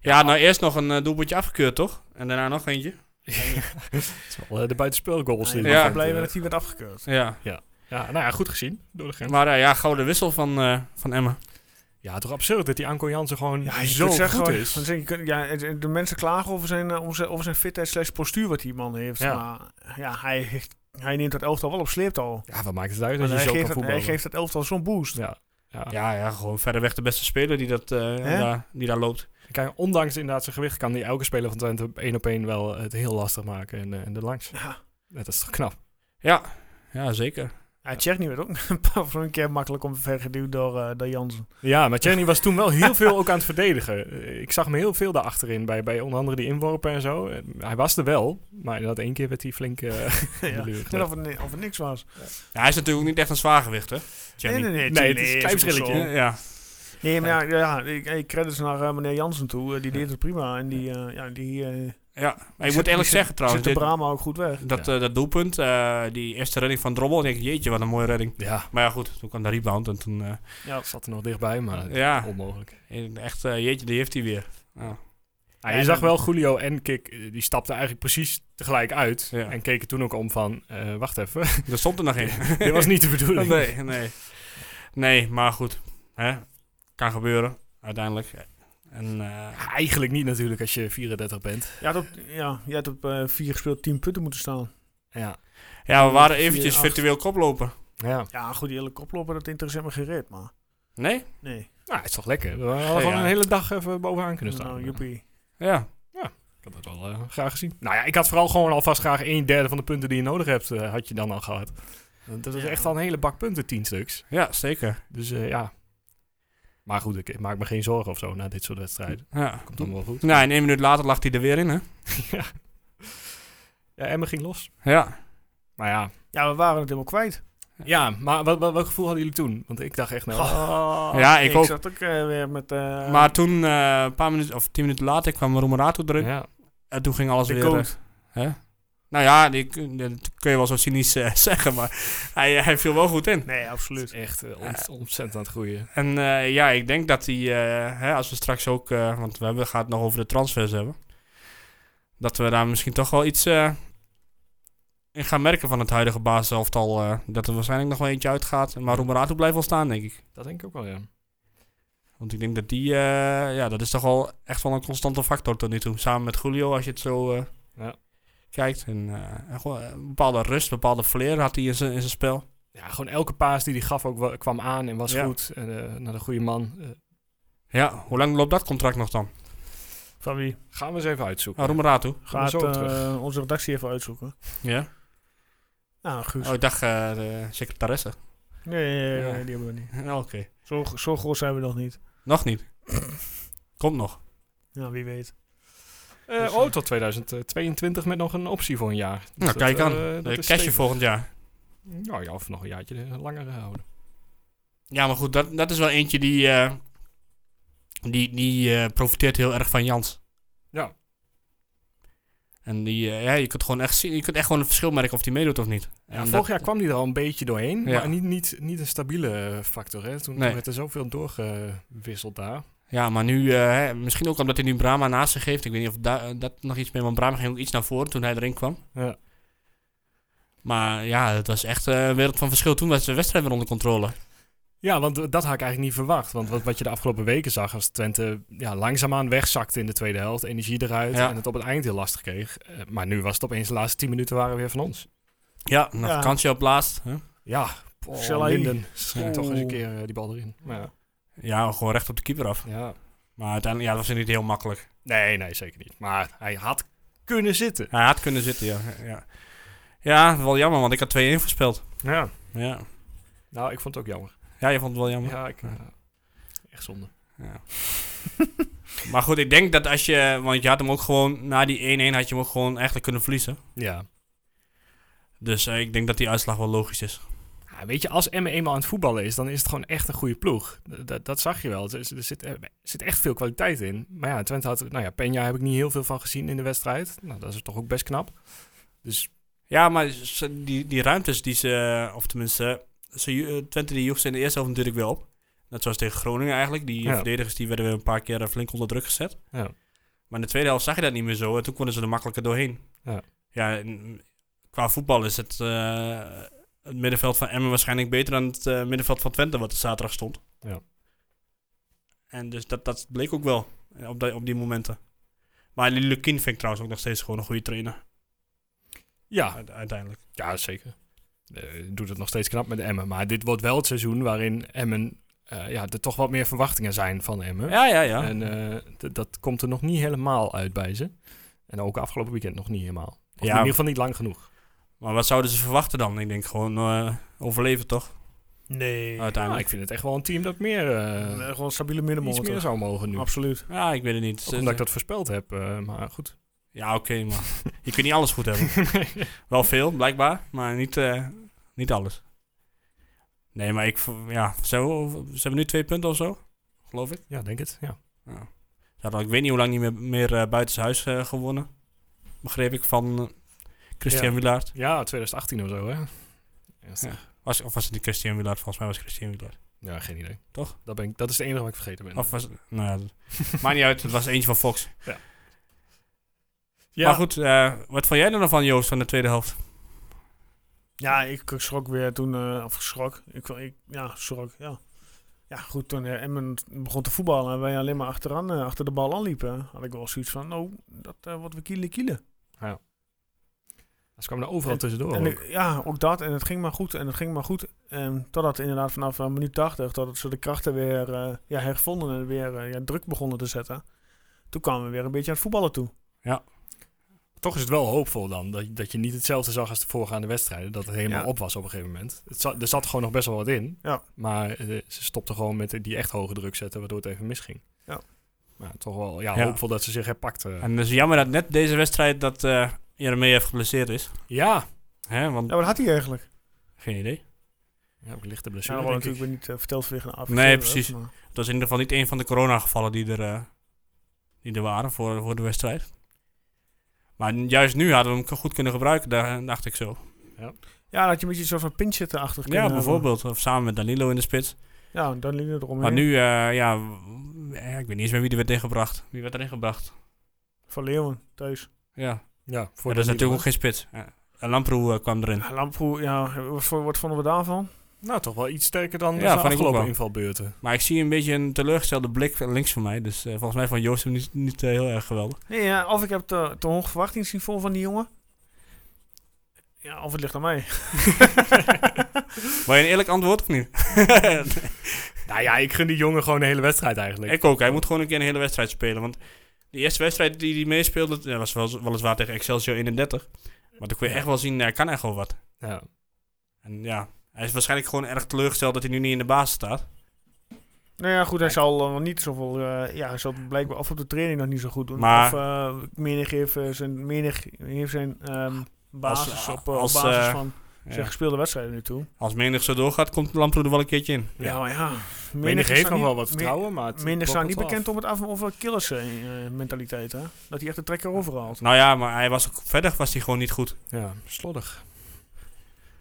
Speaker 2: Ja, nou eerst nog een eh, doelpuntje afgekeurd, toch? En daarna nog eentje.
Speaker 3: Het is wel eh, de buitenspelgoals. die
Speaker 1: Ik was
Speaker 2: Ja.
Speaker 3: hij
Speaker 1: wel
Speaker 3: maakt,
Speaker 1: blij
Speaker 3: eh.
Speaker 1: dat hij werd afgekeurd.
Speaker 2: Ja.
Speaker 3: Ja, nou ja, goed gezien door de grens.
Speaker 2: Maar eh, ja, gouden wissel van, eh, van Emma.
Speaker 3: Ja, toch absurd dat die Anko Jansen gewoon
Speaker 1: Ja, je
Speaker 3: zo
Speaker 1: kunt
Speaker 3: goed
Speaker 1: zeggen, gewoon-
Speaker 3: is.
Speaker 1: want je kunt- ja, het- het- de mensen klagen over zijn, eh, over zijn, over zijn fitheid slash postuur wat die man heeft.
Speaker 3: Ja.
Speaker 1: Maar ja, hij, hij neemt dat elftal wel op sleeptouw.
Speaker 3: Ja, wat maakt het uit
Speaker 1: Want
Speaker 3: dat
Speaker 1: Hij,
Speaker 3: dus je zo kan
Speaker 1: geeft dat- hij
Speaker 3: voetballen?
Speaker 1: geeft dat elftal zo'n boost.
Speaker 3: Ja. Ja.
Speaker 1: Ah.
Speaker 2: Ja, ja, gewoon verreweg de beste speler die, dat, eh, daar, die daar loopt.
Speaker 3: Kijk, ondanks inderdaad zijn gewicht kan die elke speler van Twente één op één wel het heel lastig maken en, eh, en er langs.
Speaker 1: Ja.
Speaker 3: Dat is toch knap?
Speaker 2: Ja, ja zeker.
Speaker 1: Ja, Tjerni werd ook een paar van een keer makkelijk omvergeduwd door, eh door Jansen.
Speaker 3: Ja, maar Tjerni was toen wel heel veel ook aan het verdedigen. Eh, Ik zag hem heel veel daarachterin, bij, bij onder andere die inworpen en zo. Eh, Hij was er wel, maar inderdaad één keer werd hij flink... eh,
Speaker 1: ja.
Speaker 3: de lucht.
Speaker 1: Net of het, ni- of het niks was.
Speaker 2: Ja, hij is natuurlijk niet echt een zwaargewicht, hè? Jenny.
Speaker 1: nee.
Speaker 3: Nee, het
Speaker 1: Tjerni
Speaker 3: is een
Speaker 1: ook
Speaker 3: klein verschilletje.
Speaker 1: zo.
Speaker 2: Ja, ja.
Speaker 1: Nee, maar ja, ja ik, ik credits naar eh, meneer Jansen toe. Eh, die deed het prima. En die, eh, ja, die eh,
Speaker 2: ja. Maar ik
Speaker 1: zit-
Speaker 2: moet eerlijk
Speaker 1: zit-
Speaker 2: zeggen trouwens,
Speaker 1: zit de
Speaker 2: dit-
Speaker 1: Brahma ook goed weg.
Speaker 2: dat,
Speaker 3: Ja.
Speaker 2: eh, dat doelpunt, eh, die eerste redding van Drommel, ik denk jeetje, wat een mooie redding.
Speaker 3: ja,
Speaker 2: Maar ja, goed, toen kwam de rebound en toen, eh,
Speaker 1: Ja,
Speaker 3: zat er nog dichtbij,
Speaker 1: Ah,
Speaker 3: maar
Speaker 2: ja,
Speaker 3: onmogelijk.
Speaker 2: echt, eh, jeetje, die heeft hij weer. Ja.
Speaker 3: Ja, Ah, je zag wel Julio en Kik, eh, die stapten eigenlijk precies tegelijk uit.
Speaker 2: Ja.
Speaker 3: En keken toen ook om van, eh, wacht even,
Speaker 2: Er stond er nog in.
Speaker 3: dit was niet de bedoeling.
Speaker 2: Nee, nee. Nee, maar goed. Hè? Kan gebeuren, uiteindelijk. En, eh,
Speaker 3: Eigenlijk niet natuurlijk als je 34 bent.
Speaker 1: Je had op, ja, je had op eh, vier gespeeld 10 punten moeten staan.
Speaker 3: Ja,
Speaker 2: ja, we waren
Speaker 1: Vier,
Speaker 2: eventjes
Speaker 1: acht.
Speaker 2: virtueel koploper.
Speaker 3: ja.
Speaker 1: Ja, goed, die hele koploper, dat interesseert me gereed, maar
Speaker 2: Nee?
Speaker 1: nee.
Speaker 3: Nou, het is toch lekker. We hadden gewoon
Speaker 2: ja.
Speaker 3: een hele dag even bovenaan kunnen staan.
Speaker 1: Nou, joepie.
Speaker 2: Ja.
Speaker 3: Ik had dat wel eh, graag gezien. Nou ja, ik had vooral gewoon alvast graag een derde van de punten die je nodig hebt, eh, had je dan al gehad. Want Dat is
Speaker 1: Ja.
Speaker 3: echt al een hele bak punten, tien stuks.
Speaker 2: Ja, zeker.
Speaker 3: Dus eh, ja. Maar goed, ik maak me geen zorgen of zo na dit soort wedstrijden.
Speaker 2: Ja.
Speaker 3: Komt dan wel goed.
Speaker 2: Nou, en één minuut later lag hij er weer in, hè?
Speaker 3: ja. ja, Emma ging los.
Speaker 2: Ja.
Speaker 3: Maar ja.
Speaker 1: Ja, we waren het helemaal kwijt.
Speaker 3: Ja, maar wat, wat, wat gevoel hadden jullie toen? Want ik dacht echt, nou,
Speaker 2: ja, ik ook.
Speaker 1: Oh, Ik zat ook eh, weer met... eh,
Speaker 2: Maar toen, eh, een paar minuten, of tien minuten later, kwam Romerato erin.
Speaker 3: ja.
Speaker 2: En toen ging alles
Speaker 1: de
Speaker 2: weer... eh,
Speaker 1: coach.
Speaker 2: nou ja, die, kun- dat kun je wel zo cynisch eh, zeggen, maar hij, hij viel wel goed in.
Speaker 1: Nee,
Speaker 3: Het is
Speaker 1: absoluut.
Speaker 3: echt eh, ont- ontzettend aan het groeien.
Speaker 2: En eh, ja, ik denk dat hij, eh, hè, als we straks ook, eh, want we hebben, gaan het nog over de transfers hebben, dat we daar misschien toch wel iets, eh, Ik ga merken van het huidige basiselftal eh, dat er waarschijnlijk nog wel eentje uitgaat. Maar Roemerato blijft wel staan, denk ik.
Speaker 3: Dat denk ik ook wel, ja.
Speaker 2: Want ik denk dat die, eh, ja, dat is toch wel echt wel een constante factor tot nu toe. Samen met Julio, als je het zo eh,
Speaker 3: Ja.
Speaker 2: kijkt. En, eh, en gewoon eh, een bepaalde rust, een bepaalde flair had hij in zijn in zijn spel.
Speaker 3: Ja, gewoon elke paas die hij gaf ook wel- kwam aan en was
Speaker 2: Ja.
Speaker 3: goed. En, eh, naar de goede man. Eh,
Speaker 2: Ja, hoe lang loopt dat contract nog dan?
Speaker 1: Van wie?
Speaker 3: gaan we eens even uitzoeken.
Speaker 2: Ah, Roemerato.
Speaker 3: Gaan
Speaker 1: Gaat
Speaker 3: we zo op terug.
Speaker 1: eh, onze redactie even uitzoeken.
Speaker 2: Ja.
Speaker 1: Nou, Guus.
Speaker 2: Oh, ik dacht eh, de secretaresse.
Speaker 1: Nee, nee, nee, nee,
Speaker 2: Ja.
Speaker 1: die hebben we niet.
Speaker 2: Nou, Oké.
Speaker 1: Zo, zo groot zijn we nog niet.
Speaker 2: Nog niet. Komt nog.
Speaker 1: Nou, wie weet.
Speaker 3: Eh,
Speaker 1: Dus,
Speaker 3: oh,
Speaker 1: eh,
Speaker 3: tot 2022 met nog een optie voor een jaar. Dus
Speaker 2: Nou,
Speaker 3: dat,
Speaker 2: kijk aan.
Speaker 3: eh,
Speaker 2: De
Speaker 3: dat is
Speaker 2: cashje
Speaker 3: stevig.
Speaker 2: volgend jaar.
Speaker 3: Nou ja, of nog een jaartje eh, langer eh, houden.
Speaker 2: Ja, maar goed, dat, dat is wel eentje die, eh, die, die eh, profiteert heel erg van Jans.
Speaker 3: Ja.
Speaker 2: En die, eh, ja, je kunt gewoon echt zien, je kunt echt gewoon een verschil merken of die meedoet of niet.
Speaker 3: Ja,
Speaker 2: En dat-
Speaker 3: vorig jaar kwam hij er al een beetje doorheen,
Speaker 2: Ja.
Speaker 3: maar niet, niet, niet een stabiele eh, factor. Hè? Toen,
Speaker 2: Nee.
Speaker 3: toen werd er zoveel doorgewisseld daar.
Speaker 2: ja, maar nu, eh, hè, misschien ook omdat hij nu Brahma naast zich heeft. Ik weet niet of da- eh, dat nog iets mee, want Brahma ging ook iets naar voren toen hij erin kwam.
Speaker 3: Ja.
Speaker 2: Maar ja, het was echt eh, een wereld van verschil. Toen was de wedstrijd weer onder controle.
Speaker 3: Ja, want eh, dat had ik eigenlijk niet verwacht. Want wat, wat je de afgelopen weken zag, als Twente ja, langzaamaan wegzakte in de tweede helft, energie eruit
Speaker 2: Ja.
Speaker 3: en het op het eind heel lastig kreeg. Eh, maar nu was het opeens de laatste 10 minuten waren weer van ons.
Speaker 2: Ja, nog
Speaker 1: Ja.
Speaker 2: een kansje op laatst. Hè?
Speaker 3: Ja,
Speaker 1: Salah.
Speaker 3: Poh, Linden. Schiet
Speaker 2: Ja.
Speaker 3: toch eens een keer eh, die bal erin. Maar ja.
Speaker 2: Ja, gewoon recht op de keeper af.
Speaker 3: ja.
Speaker 2: Maar uiteindelijk, ja, dat was niet heel makkelijk.
Speaker 3: Nee, nee, zeker niet. Maar hij had kunnen zitten.
Speaker 2: Hij had kunnen zitten, ja. Ja, ja wel jammer, want ik had 2-1 voorspeld.
Speaker 3: Ja.
Speaker 2: Ja.
Speaker 3: Nou, ik vond het ook jammer.
Speaker 2: ja, je vond het wel jammer.
Speaker 3: Ja, ik, eh, echt zonde.
Speaker 2: Ja. maar goed, ik denk dat als je... Want je had hem ook gewoon... Na die 1-1 had je hem ook gewoon eigenlijk kunnen verliezen.
Speaker 3: Ja.
Speaker 2: Dus eh, ik denk dat die uitslag wel logisch is.
Speaker 3: Ja, weet je, als Emmen eenmaal aan het voetballen is, dan is het gewoon echt een goede ploeg. D- Dat, dat zag je wel. Er, is- er zit, er zit echt veel kwaliteit in. Maar ja, Twente had... Nou ja, Penja heb ik niet heel veel van gezien in de wedstrijd. Nou, dat is toch ook best knap. Dus
Speaker 2: Ja, maar ze- die, die ruimtes die ze... eh, Of tenminste, ze, ju- eh, Twente die joeg ze in de eerste helft natuurlijk wel op. Net zoals tegen Groningen eigenlijk. Die
Speaker 3: Ja.
Speaker 2: verdedigers die werden weer een paar keer eh, flink onder druk gezet.
Speaker 3: Ja.
Speaker 2: Maar in de tweede helft zag je dat niet meer zo. En toen konden ze er makkelijker doorheen.
Speaker 3: Ja.
Speaker 2: Ja, en qua voetbal is het, eh, het middenveld van Emmen waarschijnlijk beter dan het eh, middenveld van Twente... wat er zaterdag stond.
Speaker 3: Ja.
Speaker 2: En dus dat, dat bleek ook wel eh, op, die- op die momenten. Maar Lukin vind ik trouwens ook nog steeds gewoon een goede trainer.
Speaker 3: ja,
Speaker 2: uite- Uiteindelijk.
Speaker 3: Ja, zeker. Eh, doet het nog steeds knap met Emmen. Maar dit wordt wel het seizoen waarin Emmen... eh, ja, er toch wat meer verwachtingen zijn van Emmen.
Speaker 2: Ja, ja, ja.
Speaker 3: En eh, d- dat komt er nog niet helemaal uit bij ze. En ook afgelopen weekend nog niet helemaal.
Speaker 2: Ja.
Speaker 3: Of in ieder geval niet lang genoeg.
Speaker 2: Maar wat zouden ze verwachten dan? Ik denk gewoon eh, overleven toch? Oh.
Speaker 1: Nee.
Speaker 3: Ja,
Speaker 2: Uiteindelijk.
Speaker 3: Ah, ik vind het echt wel een team dat meer, eh,
Speaker 1: Eh, gewoon stabiele
Speaker 3: iets
Speaker 1: middenmotor.
Speaker 3: meer zou mogen nu.
Speaker 1: Absoluut.
Speaker 2: Ja, ik weet het niet.
Speaker 3: Ook omdat ik dat voorspeld heb. eh, maar goed.
Speaker 2: Ja, oké, maar je kunt niet alles goed hebben. Wel veel, blijkbaar, maar niet, eh, niet alles. Nee, maar ik... v- Ja, ze hebben, ze hebben nu twee punten of zo, geloof ik.
Speaker 3: ja, denk het. Ja.
Speaker 2: Ja. Ze hadden al- ik weet niet hoe lang niet meer, meer eh, buitenshuis eh, gewonnen. Begreep ik van eh, Christian
Speaker 3: Ja.
Speaker 2: Wilaert.
Speaker 3: ja, 2018 of zo, hè? Ja,
Speaker 2: Was, of was het niet Christian Wilaert? Volgens mij was het Christian Wilaert.
Speaker 3: ja, geen idee.
Speaker 2: Toch?
Speaker 3: Dat, ben ik, dat is de enige wat ik vergeten ben.
Speaker 2: Of was het- Nou ja, dat- maakt niet uit. Het was eentje van Fox.
Speaker 3: ja,
Speaker 2: Maar goed, eh, wat vond jij er dan van, Joost, van de tweede helft?
Speaker 1: Ja, ik schrok weer toen, eh of geschrok. Ik, ik, ja, schrok, ja. Ja, goed, toen eh, Emmen begon te voetballen en wij alleen maar achteraan, eh, achter de bal aanliepen, had ik wel zoiets van, oh, dat eh, wordt weer kielen kielen.
Speaker 3: Ze kwamen er overal tussendoor.
Speaker 1: En
Speaker 3: ook.
Speaker 1: ik- ja, ook dat. En het ging maar goed. En het ging maar goed. En totdat inderdaad vanaf eh, minuut 80, totdat ze de krachten weer eh, ja, hervonden en weer eh, ja, druk begonnen te zetten. Toen kwamen we weer een beetje aan het voetballen toe.
Speaker 3: Toch is het wel hoopvol dan, dat, dat je niet hetzelfde zag als de voorgaande wedstrijden. Dat het helemaal
Speaker 1: Ja.
Speaker 3: op was op een gegeven moment. Het za- er zat gewoon nog best wel wat in.
Speaker 1: Ja.
Speaker 3: Maar eh, ze stopten gewoon met die echt hoge druk zetten, waardoor het even misging.
Speaker 1: Ja.
Speaker 3: Maar toch wel ja,
Speaker 2: Ja.
Speaker 3: hoopvol dat ze zich herpakt. eh.
Speaker 2: En het is jammer dat net deze wedstrijd dat eh Jeremie heeft geblesseerd is.
Speaker 3: Ja.
Speaker 2: Hè, want...
Speaker 1: Ja, wat had hij eigenlijk?
Speaker 2: Geen idee.
Speaker 3: Ja, ook lichte
Speaker 1: Ja,
Speaker 3: blessure,
Speaker 1: dat wordt natuurlijk
Speaker 3: denk ik.
Speaker 1: weer niet eh, verteld vanwege een af.
Speaker 2: Nee, precies.
Speaker 1: Maar,
Speaker 2: Het was in ieder geval niet een van de coronagevallen die er, eh, die er waren voor, voor de wedstrijd. Maar juist nu hadden we hem goed kunnen gebruiken, daar dacht ik zo.
Speaker 1: ja, dat had je een beetje zo van pinchitten achter
Speaker 2: Ja, bijvoorbeeld. Of samen met Danilo in de spits.
Speaker 1: Ja, dan liep het eromheen.
Speaker 2: Maar nu, eh, ja, w- ja, ik weet niet eens meer wie er werd ingebracht. Wie werd er ingebracht?
Speaker 1: Van Leeuwen, thuis.
Speaker 2: Ja,
Speaker 3: Ja,
Speaker 2: maar
Speaker 3: voor
Speaker 2: dat is
Speaker 3: Danilo,
Speaker 2: natuurlijk ook geen spits. Ja. En Lamproe eh, kwam erin.
Speaker 1: Ja, Lamproe, ja, wat, vo- wat vonden we daarvan?
Speaker 3: Nou, toch wel iets sterker dan
Speaker 2: Ja,
Speaker 3: de
Speaker 2: vond ik ook
Speaker 3: afgelopen
Speaker 2: wel.
Speaker 3: invalbeurten.
Speaker 2: Maar ik zie een beetje een teleurgestelde blik links van mij. Dus eh, volgens mij van Joost hem niet, niet eh, heel erg geweldig.
Speaker 1: Nee, ja, of ik heb te, te hoog verwachtingsniveau van die jongen. Ja, of het ligt aan mij.
Speaker 2: Maar een eerlijk antwoord of niet?
Speaker 3: Nou ja, ik gun die jongen gewoon de hele wedstrijd eigenlijk.
Speaker 2: ik ook. Hij moet gewoon een keer een hele wedstrijd spelen. Want de eerste wedstrijd die hij meespeelde, dat was wel, weliswaar tegen Excelsior 31. Maar dan kon je echt wel zien, hij kan echt wel wat.
Speaker 3: Ja.
Speaker 2: En ja, hij is waarschijnlijk gewoon erg teleurgesteld dat hij nu niet in de baas staat.
Speaker 1: Nou ja, goed, hij zal eh, niet zoveel... eh, ja, hij zal blijkbaar of op de training nog niet zo goed doen.
Speaker 2: Maar-
Speaker 1: of eh menig heeft eh, zijn, menig heeft zijn ehm, basis op, eh, op
Speaker 2: als,
Speaker 1: basis
Speaker 2: eh,
Speaker 1: van
Speaker 2: Ja.
Speaker 1: zijn gespeelde wedstrijden nu toe.
Speaker 2: Als menig zo doorgaat, komt Lamproe er wel een keertje in.
Speaker 1: Ja, maar ja.
Speaker 3: Menig
Speaker 1: is
Speaker 3: heeft
Speaker 1: dan
Speaker 3: nog
Speaker 1: niet-
Speaker 3: wel wat
Speaker 1: Me-
Speaker 3: vertrouwen, maar... het
Speaker 1: Minder staan
Speaker 3: brokkelt
Speaker 1: niet
Speaker 3: wel
Speaker 1: bekend
Speaker 3: af.
Speaker 1: om het af en over killers eh, eh, mentaliteit, hè? Dat hij echt de trekker overhaalt.
Speaker 2: Nou ja, maar hij was ook, verder was hij gewoon niet goed.
Speaker 3: Ja, slordig.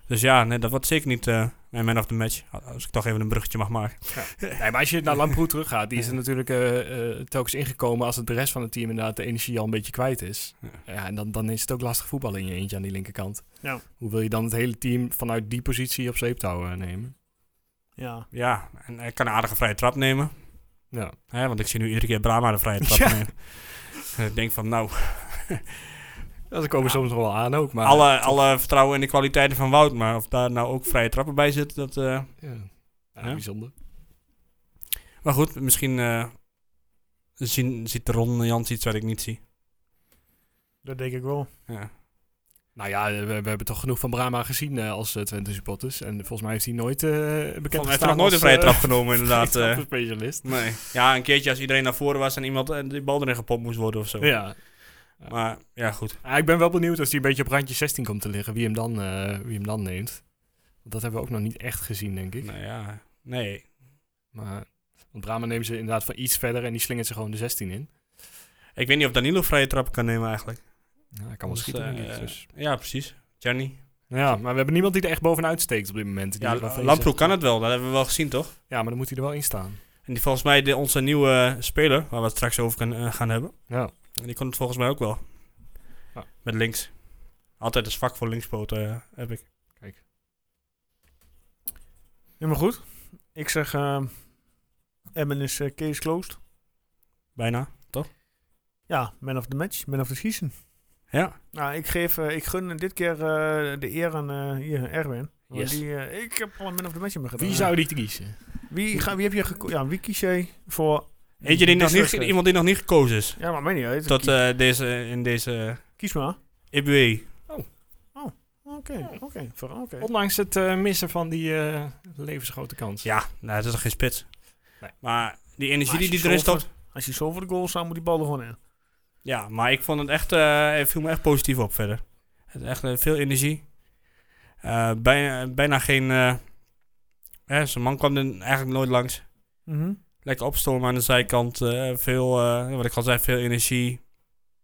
Speaker 2: Dus ja, nee, dat wordt zeker niet eh, mijn man of the match. Als ik toch even een bruggetje mag maken.
Speaker 3: Nee, maar als je naar Lamproe teruggaat, die is er natuurlijk eh, eh, telkens ingekomen als het de rest van het team inderdaad de energie al een beetje kwijt is. Ja, en dan, dan is het ook lastig voetballen in je eentje aan die linkerkant.
Speaker 1: Ja.
Speaker 3: Hoe wil je dan het hele team vanuit die positie op zeeptouw eh, nemen?
Speaker 1: Ja.
Speaker 2: Ja, en hij kan een aardige vrije trap nemen.
Speaker 3: Ja.
Speaker 2: Hè, want ik zie nu iedere keer Brahma de vrije trap
Speaker 3: Ja.
Speaker 2: nemen. En ik denk van, nou,
Speaker 3: Dat komen soms nog wel aan ook, maar...
Speaker 2: alle, alle vertrouwen in de kwaliteiten van Wout. Maar of daar nou ook vrije trappen bij zitten, dat... eh,
Speaker 3: Ja. Ja,
Speaker 2: Ja.
Speaker 3: Bijzonder.
Speaker 2: Maar goed, misschien eh, zien, ziet Ron Jans iets wat ik niet zie.
Speaker 1: Dat denk ik wel.
Speaker 2: Ja.
Speaker 3: Nou ja, eh, we, we hebben toch genoeg van Brahma gezien eh, als eh, Twente supporters. En volgens mij heeft hij nooit eh bekend
Speaker 2: Volgens mij heeft hij
Speaker 3: gestaan
Speaker 2: nog nooit een
Speaker 3: als,
Speaker 2: vrije
Speaker 3: eh,
Speaker 2: trap genomen, inderdaad. eh.
Speaker 3: specialist.
Speaker 2: nee. Ja, een keertje als iedereen naar voren was en iemand eh, die bal erin gepopt moest worden of zo.
Speaker 3: Ja.
Speaker 2: Maar ja, goed.
Speaker 3: Ah, ik ben wel benieuwd als hij een beetje op randje 16 komt te liggen, wie hem dan, eh, wie hem dan neemt. Want dat hebben we ook nog niet echt gezien, denk ik.
Speaker 2: Nou ja, nee.
Speaker 3: Maar, want Brahma neemt ze inderdaad van iets verder en die slingert ze gewoon de 16 in.
Speaker 2: Ik weet niet of Danilo vrije trappen kan nemen eigenlijk.
Speaker 3: Ja, hij kan wel
Speaker 2: Dus,
Speaker 3: schieten,
Speaker 2: eh,
Speaker 3: denk ik. Dus.
Speaker 2: Ja, precies. Gianni.
Speaker 3: Ja, maar we hebben niemand die er echt bovenuit steekt op dit moment. Die
Speaker 2: Ja,
Speaker 3: waarvan je
Speaker 2: Lamproe
Speaker 3: zegt-
Speaker 2: kan het wel, dat hebben we wel gezien, toch?
Speaker 3: Ja, maar dan moet hij er wel in staan.
Speaker 2: En die volgens mij de, onze nieuwe eh, speler, waar we het straks over kan, eh, gaan hebben,
Speaker 3: Ja.
Speaker 2: die kon het volgens mij ook wel.
Speaker 3: Ja.
Speaker 2: Met links. Altijd een zwak voor linkspoot eh, heb ik.
Speaker 1: Helemaal goed. Ik zeg, ehm Emmen is eh, case closed.
Speaker 2: Bijna.
Speaker 1: Ja, man of the match, man of the season.
Speaker 2: Ja.
Speaker 1: Nou, ik, geef, eh, ik gun dit keer eh, de eer aan eh, hier, Erwin. Want
Speaker 2: Yes.
Speaker 1: Die, eh, ik heb al een man of the match in me gedaan.
Speaker 3: Wie zou die kiezen?
Speaker 1: wie, ga, wie heb je geko- Ja, wie kies jij voor...
Speaker 2: Eentje die
Speaker 1: dit
Speaker 2: nog niet,
Speaker 1: wedstrijd?
Speaker 2: iemand die nog niet gekozen is.
Speaker 1: Ja, maar mij niet uit.
Speaker 2: Tot
Speaker 1: Kies-
Speaker 2: eh, deze, in deze eh,
Speaker 1: kies maar.
Speaker 2: EBW.
Speaker 1: Oké, oké. ver- oké.
Speaker 3: Ondanks het eh, missen van die eh levensgrote kans.
Speaker 2: Ja, nou, dat is toch geen spits.
Speaker 3: Nee.
Speaker 2: Maar die
Speaker 1: Maar
Speaker 2: energie
Speaker 1: als
Speaker 2: die
Speaker 1: je
Speaker 2: die erin
Speaker 1: zo voor-
Speaker 2: stopt.
Speaker 1: Als je zo voor de goal staat, moet die bal er gewoon in.
Speaker 2: Ja, maar ik vond het echt, eh, hij viel me echt positief op verder. Het echt eh, veel energie. Eh, bijna, bijna geen, eh, hè, zijn man kwam er eigenlijk nooit langs.
Speaker 1: Mhm.
Speaker 2: Lekker opstormen aan de zijkant. eh, veel, eh, wat ik al zei, veel energie.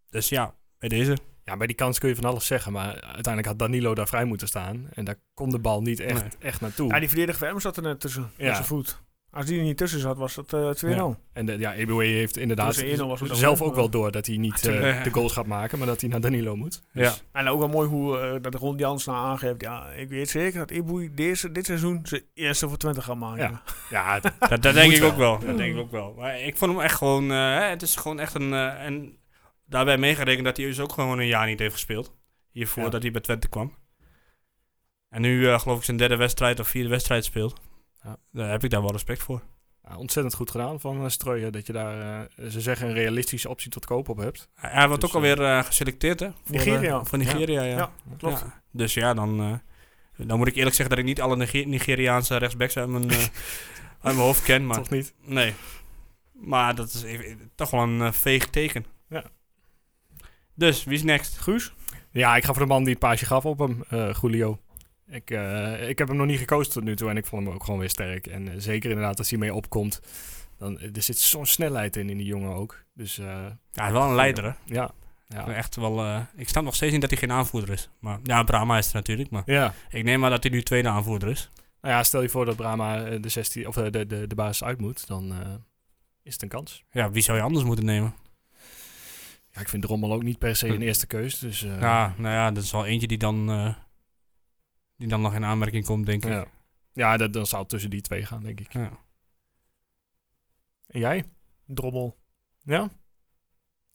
Speaker 2: Dus ja, bij deze.
Speaker 3: Ja, bij die kans kun je van alles zeggen, maar uiteindelijk had Danilo daar vrij moeten staan. En daar kon de bal niet echt,
Speaker 2: Nee.
Speaker 3: echt naartoe.
Speaker 1: Ja, die verdediger van Emmen zat er net tussen. met
Speaker 3: Ja.
Speaker 1: zijn voet. Als die er niet tussen zat, was het eh 2-0.
Speaker 3: En de, ja, EBW heeft inderdaad
Speaker 1: Toen ze 1-0 was, was dat
Speaker 3: zelf
Speaker 1: wel-
Speaker 3: ook wel door dat hij niet
Speaker 2: Ja, tuurlijk.
Speaker 3: eh, de goals gaat maken, maar dat hij naar Danilo moet. Dus,
Speaker 2: Ja.
Speaker 1: En ook wel mooi hoe eh, dat Ron Jans nou aangeeft. Ja, ik weet zeker dat Iboei deze, dit seizoen zijn eerste voor 20 gaat maken.
Speaker 3: Ja. Ja,
Speaker 2: Dat, dat denk
Speaker 3: Moet
Speaker 2: ik
Speaker 3: wel.
Speaker 2: ook wel. Dat denk ik ook wel. Maar ik vond hem echt gewoon. eh, hè, het is gewoon echt een. eh, en daarbij meegerekend dat hij dus ook gewoon een jaar niet heeft gespeeld. Hiervoor
Speaker 3: Ja.
Speaker 2: dat hij bij Twente kwam. En nu eh, geloof ik zijn derde wedstrijd of vierde wedstrijd speelt.
Speaker 3: Ja.
Speaker 2: Daar heb ik daar wel respect voor.
Speaker 3: ja, ontzettend goed gedaan van eh, Streuer dat je daar, eh, ze zeggen, een realistische optie tot koop op hebt.
Speaker 2: Hij, hij wordt
Speaker 3: Dus,
Speaker 2: ook alweer eh, geselecteerd, hè? Voor, eh,
Speaker 1: Nigeria.
Speaker 2: voor Nigeria, ja.
Speaker 1: Ja, klopt.
Speaker 2: Ja. Dus ja, dan, eh, dan moet ik eerlijk zeggen dat ik niet alle Nige- Nigeriaanse rechtsbacks uit mijn, eh, uit mijn hoofd ken. Maar
Speaker 3: Toch niet?
Speaker 2: Nee. Maar dat is even- toch wel een eh, veeg teken.
Speaker 3: Ja.
Speaker 2: Dus, wie is next?
Speaker 1: Guus?
Speaker 3: Ja, ik ga voor de man die het paasje gaf op hem, eh Julio. Ik, eh, ik heb hem nog niet gekozen tot nu toe en ik vond hem ook gewoon weer sterk. En eh, zeker inderdaad als hij mee opkomt, dan, eh, er zit zo'n snelheid in, in die jongen ook. Dus eh,
Speaker 2: Ja, hij is wel een leider, hè?
Speaker 3: ja. Ja.
Speaker 2: Echt wel, eh, ik snap nog steeds niet dat hij geen aanvoerder is. Maar, ja, Brahma is er natuurlijk, maar
Speaker 3: ja.
Speaker 2: ik neem maar dat hij nu tweede aanvoerder is.
Speaker 3: Nou ja, stel je voor dat Brahma eh, de, 16, of eh, de, de, de basis uit moet, dan eh, is het een kans.
Speaker 2: Ja, wie zou je anders moeten nemen?
Speaker 3: Ja, ik vind Drommel ook niet per se een eerste keus. Dus, eh,
Speaker 2: Ja, nou ja, dat is wel eentje die dan, eh, die dan nog in aanmerking komt, denk ik.
Speaker 3: ja. ja dat, dan zou het tussen die twee gaan, denk ik.
Speaker 2: Ja.
Speaker 3: En jij?
Speaker 1: Drommel.
Speaker 3: Ja?